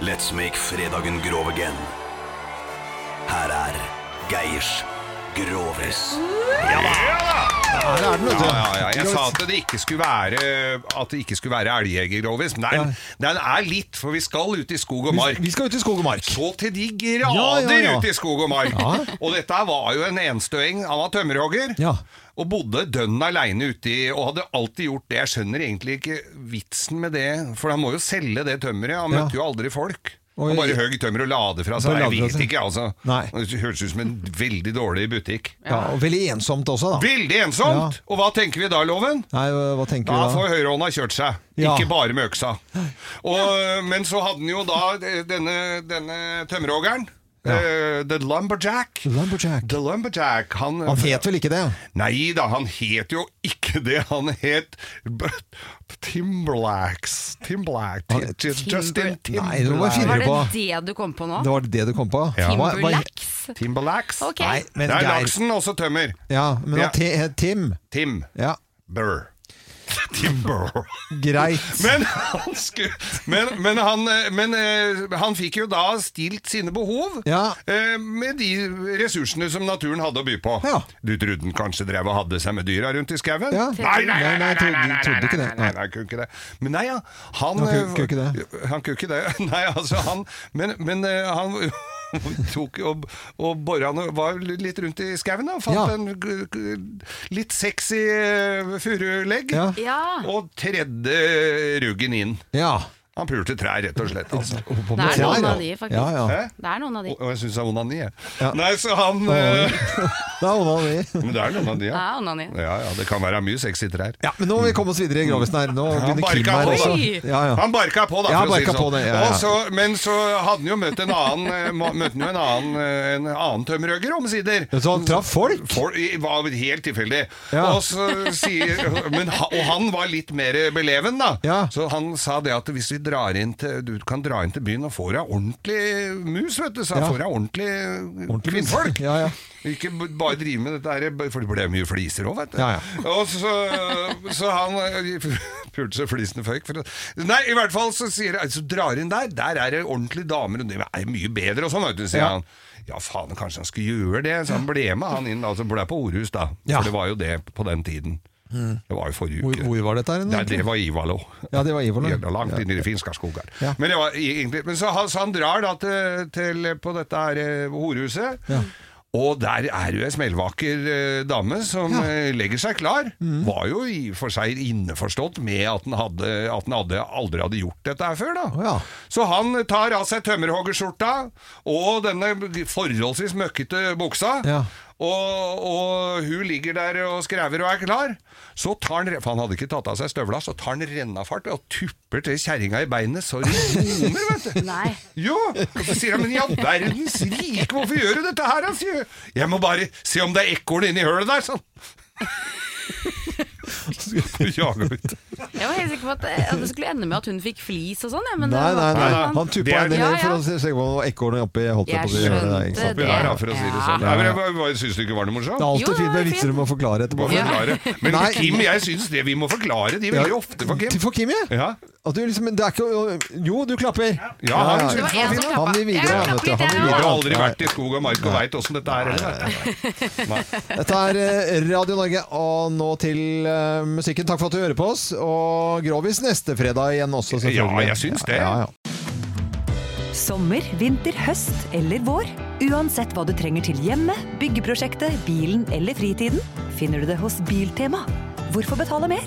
[SPEAKER 17] Let's make fredagen grov again. Her er Geirs Grovis. Ja
[SPEAKER 1] Ja, det er den, vet du.
[SPEAKER 3] Ja, ja, ja. Jeg sa at det ikke skulle være At det ikke skulle være elgjegergrovis. Men den, den er litt, for vi skal ut i skog og mark.
[SPEAKER 1] Vi skal ut i skog og mark.
[SPEAKER 3] Så til de
[SPEAKER 1] Ja,
[SPEAKER 3] grader
[SPEAKER 1] ja, ja.
[SPEAKER 3] ut i skog og mark! Og dette var jo en enstøing. Han var tømmerhogger. Og bodde dønn aleine uti, og hadde alltid gjort det. Jeg skjønner egentlig ikke vitsen med det, for han må jo selge det tømmeret. Han
[SPEAKER 1] Ja.
[SPEAKER 3] møtte jo aldri folk.
[SPEAKER 1] Og
[SPEAKER 3] Han
[SPEAKER 1] i-
[SPEAKER 3] bare høgg tømmer og la det fra
[SPEAKER 1] Bare
[SPEAKER 3] seg.
[SPEAKER 1] la
[SPEAKER 3] Jeg
[SPEAKER 1] det fra
[SPEAKER 3] vet
[SPEAKER 1] seg.
[SPEAKER 3] ikke, altså.
[SPEAKER 1] Nei.
[SPEAKER 3] Det høres ut som en veldig dårlig butikk.
[SPEAKER 1] Ja, og veldig ensomt også, da.
[SPEAKER 3] Veldig ensomt! Og hva tenker vi da, Loven?
[SPEAKER 1] Nei, hva hva tenker
[SPEAKER 3] Da
[SPEAKER 1] du da?
[SPEAKER 3] får høyrehånda kjørt seg,
[SPEAKER 1] Ja.
[SPEAKER 3] ikke bare med øksa. Og, Men så hadde han jo da eh, denne, denne tømmerhoggeren. eh, the Lumberjack.
[SPEAKER 1] Lumberjack.
[SPEAKER 3] The Lumberjack han,
[SPEAKER 1] Han het vel ikke det?
[SPEAKER 3] Nei da, han het jo ikke det. Han het B- Timberlax. Timberlax. Justin
[SPEAKER 1] Nei, det var
[SPEAKER 3] Timberlax.
[SPEAKER 1] finner
[SPEAKER 2] Var
[SPEAKER 1] du på.
[SPEAKER 2] det det du kom på nå?
[SPEAKER 1] Det var det du kom på? Hva- hva-
[SPEAKER 2] Timberlax?
[SPEAKER 3] Timberlax?
[SPEAKER 2] Ok.
[SPEAKER 1] Nei, men
[SPEAKER 3] det er
[SPEAKER 1] Geir-
[SPEAKER 3] laksen, også tømmer.
[SPEAKER 1] Ja, men
[SPEAKER 3] Ja.
[SPEAKER 1] han te- het Tim.
[SPEAKER 3] Tim.
[SPEAKER 1] Ja.
[SPEAKER 3] Burr. Timber.
[SPEAKER 1] Greit.
[SPEAKER 3] Men han, skulle, men, men, han, eh, men eh, han fikk jo da stilt sine behov eh, med de ressursene som naturen hadde å by på. Du trodde han kanskje drev og hadde seg med dyra rundt i skauen?
[SPEAKER 1] Ja.
[SPEAKER 3] Nei, nei, nei,
[SPEAKER 1] Nei, nei,
[SPEAKER 3] nei,
[SPEAKER 1] jeg
[SPEAKER 3] nei,
[SPEAKER 1] trodde-
[SPEAKER 3] nei, nei,
[SPEAKER 1] trodde ikke det.
[SPEAKER 3] nei, nei, nei, kunne ikke det. Men nei, ja, han
[SPEAKER 1] Han kunne- kunne ikke
[SPEAKER 3] det. Han kunne ikke det. Nei, altså, han Men, men eh, han tok og, og bora han og var litt rundt i skauen, da. Fant
[SPEAKER 1] Ja.
[SPEAKER 3] en g- g- litt sexy eh, furulegg
[SPEAKER 1] Ja.
[SPEAKER 3] og tredde ruggen inn.
[SPEAKER 1] Ja.
[SPEAKER 3] Han pulte trær, rett og slett. Altså.
[SPEAKER 2] Det er noen av de, faktisk.
[SPEAKER 3] Hæ?
[SPEAKER 2] Det er noen av de.
[SPEAKER 3] Og jeg syns det er onani, jeg. Nei, så han
[SPEAKER 1] Onani.
[SPEAKER 3] eh,
[SPEAKER 1] Det er onani.
[SPEAKER 3] Men det er onani, ja.
[SPEAKER 2] Det er onani.
[SPEAKER 3] Ja, ja, det kan være mye sexy trær.
[SPEAKER 1] Ja, men nå må vi komme oss videre i grovisen her. Nå
[SPEAKER 3] Han
[SPEAKER 1] begynner Kim
[SPEAKER 3] barka
[SPEAKER 1] her
[SPEAKER 3] på,
[SPEAKER 1] også.
[SPEAKER 3] da.
[SPEAKER 1] Ja, ja.
[SPEAKER 3] Han barka på, da,
[SPEAKER 1] Ja,
[SPEAKER 3] for å si
[SPEAKER 1] barka
[SPEAKER 3] det
[SPEAKER 1] på
[SPEAKER 3] sånn.
[SPEAKER 1] det, ja, ja.
[SPEAKER 3] Og så- men så hadde han jo møtt en annen eh, må- Møtte han jo en annen, eh, en annen tømmerhøger, omsider.
[SPEAKER 1] Så han traff folk?
[SPEAKER 3] i- var helt tilfeldig.
[SPEAKER 1] Ja.
[SPEAKER 3] Og, så sier, men, ha- og han var litt mer beleven, da. Så han sa det at hvis vi drar inn til, du kan dra inn til byen og få deg ordentlig mus, vet du, så
[SPEAKER 1] Ja.
[SPEAKER 3] får deg ordentlig,
[SPEAKER 1] Ordentlig mus.
[SPEAKER 3] kvinnfolk.
[SPEAKER 1] Ja, ja.
[SPEAKER 3] Ikke b- bare drive med dette her, for det ble mye fliser òg, vet du.
[SPEAKER 1] Ja, ja.
[SPEAKER 3] Og så, så han eh, pulte så flisene føyk. For, å- nei, i hvert fall så sier jeg, så drar inn der, der er det ordentlige damer, og det er mye bedre og sånn, vet du, sier
[SPEAKER 1] Ja.
[SPEAKER 3] han. Ja, faen, kanskje han skulle gjøre det, så han ble med han inn, altså ble på Orhus da,
[SPEAKER 1] Ja.
[SPEAKER 3] for det var jo det på den tiden.
[SPEAKER 1] Mm.
[SPEAKER 3] Det var jo forrige
[SPEAKER 1] Hvor,
[SPEAKER 3] uke.
[SPEAKER 1] hvor var dette her?
[SPEAKER 3] Nei, det var Ivalo.
[SPEAKER 1] Ja, det var Ivalo.
[SPEAKER 3] Ja, Langt
[SPEAKER 1] Ja.
[SPEAKER 3] inn i de finske skoger.
[SPEAKER 1] Ja.
[SPEAKER 3] Men, det var i- egentlig, men så, han, så han drar da til, til på dette her eh, horehuset, og der er jo ei smellvaker eh, dame som eh, legger seg klar.
[SPEAKER 1] Mm.
[SPEAKER 3] Var jo i og for seg innforstått med at den, hadde, at den hadde, aldri hadde gjort dette her før, da. Så han tar av seg tømmerhoggerskjorta og denne forholdsvis møkkete buksa. Og, og hun ligger der og skrever og er klar. Så tar han, for han hadde ikke tatt av seg støvla, så tar han rennafart og tupper til kjerringa i beinet. Så det ljomer, vet du.
[SPEAKER 2] Nei.
[SPEAKER 3] Jo! Og så sier han, men i all verdens rike, hvorfor gjør du dette her? da, sier hun. Jeg må bare se om det er ekorn inni hølet der, sånn. Så skal jeg jage ut.
[SPEAKER 2] Jeg var helt sikker på at, at det skulle ende med at hun fikk flis og sånn. Ja, men det
[SPEAKER 1] Nei, nei,
[SPEAKER 2] var-
[SPEAKER 1] nei. Han tuppa en del
[SPEAKER 2] Ja,
[SPEAKER 1] for
[SPEAKER 2] ja.
[SPEAKER 1] å se se om ekornet oppi holdt jeg
[SPEAKER 2] Jeg
[SPEAKER 1] på å gjøre det.
[SPEAKER 2] skjønte
[SPEAKER 1] Ikke sant?
[SPEAKER 2] det.
[SPEAKER 3] Ja, for å si det
[SPEAKER 1] Ja,
[SPEAKER 3] sånn. Nei, men
[SPEAKER 1] ja.
[SPEAKER 3] jeg, bare- bare synes det ikke var noe
[SPEAKER 1] Det
[SPEAKER 3] morsomt.
[SPEAKER 1] er alltid fint med vitser du må forklare etterpå.
[SPEAKER 3] Må forklare. Men
[SPEAKER 1] Nei.
[SPEAKER 3] Kim, jeg syns det vi må forklare, de veldig
[SPEAKER 1] Ja.
[SPEAKER 3] ofte for Kim.
[SPEAKER 1] For Kim, ja? At du liksom, det er ikke, jo, du klapper.
[SPEAKER 3] Ja, han synes det var
[SPEAKER 1] Han
[SPEAKER 3] fint.
[SPEAKER 1] vil- Han vil videre. Han, vet du. han vil
[SPEAKER 3] Jeg
[SPEAKER 1] videre.
[SPEAKER 3] har aldri
[SPEAKER 1] Nei.
[SPEAKER 3] vært i skog og mark og veit åssen dette er heller.
[SPEAKER 1] Dette er eh, Radio Norge, og nå til eh, musikken. Takk for at du hører på oss. Og Grovis neste fredag igjen også, selvfølgelig.
[SPEAKER 3] Ja, jeg syns det.
[SPEAKER 1] Ja, ja.
[SPEAKER 11] Sommer, vinter, høst eller vår. Uansett hva du trenger til hjemmet, byggeprosjektet, bilen eller fritiden, finner du det hos Biltema. Hvorfor betale mer?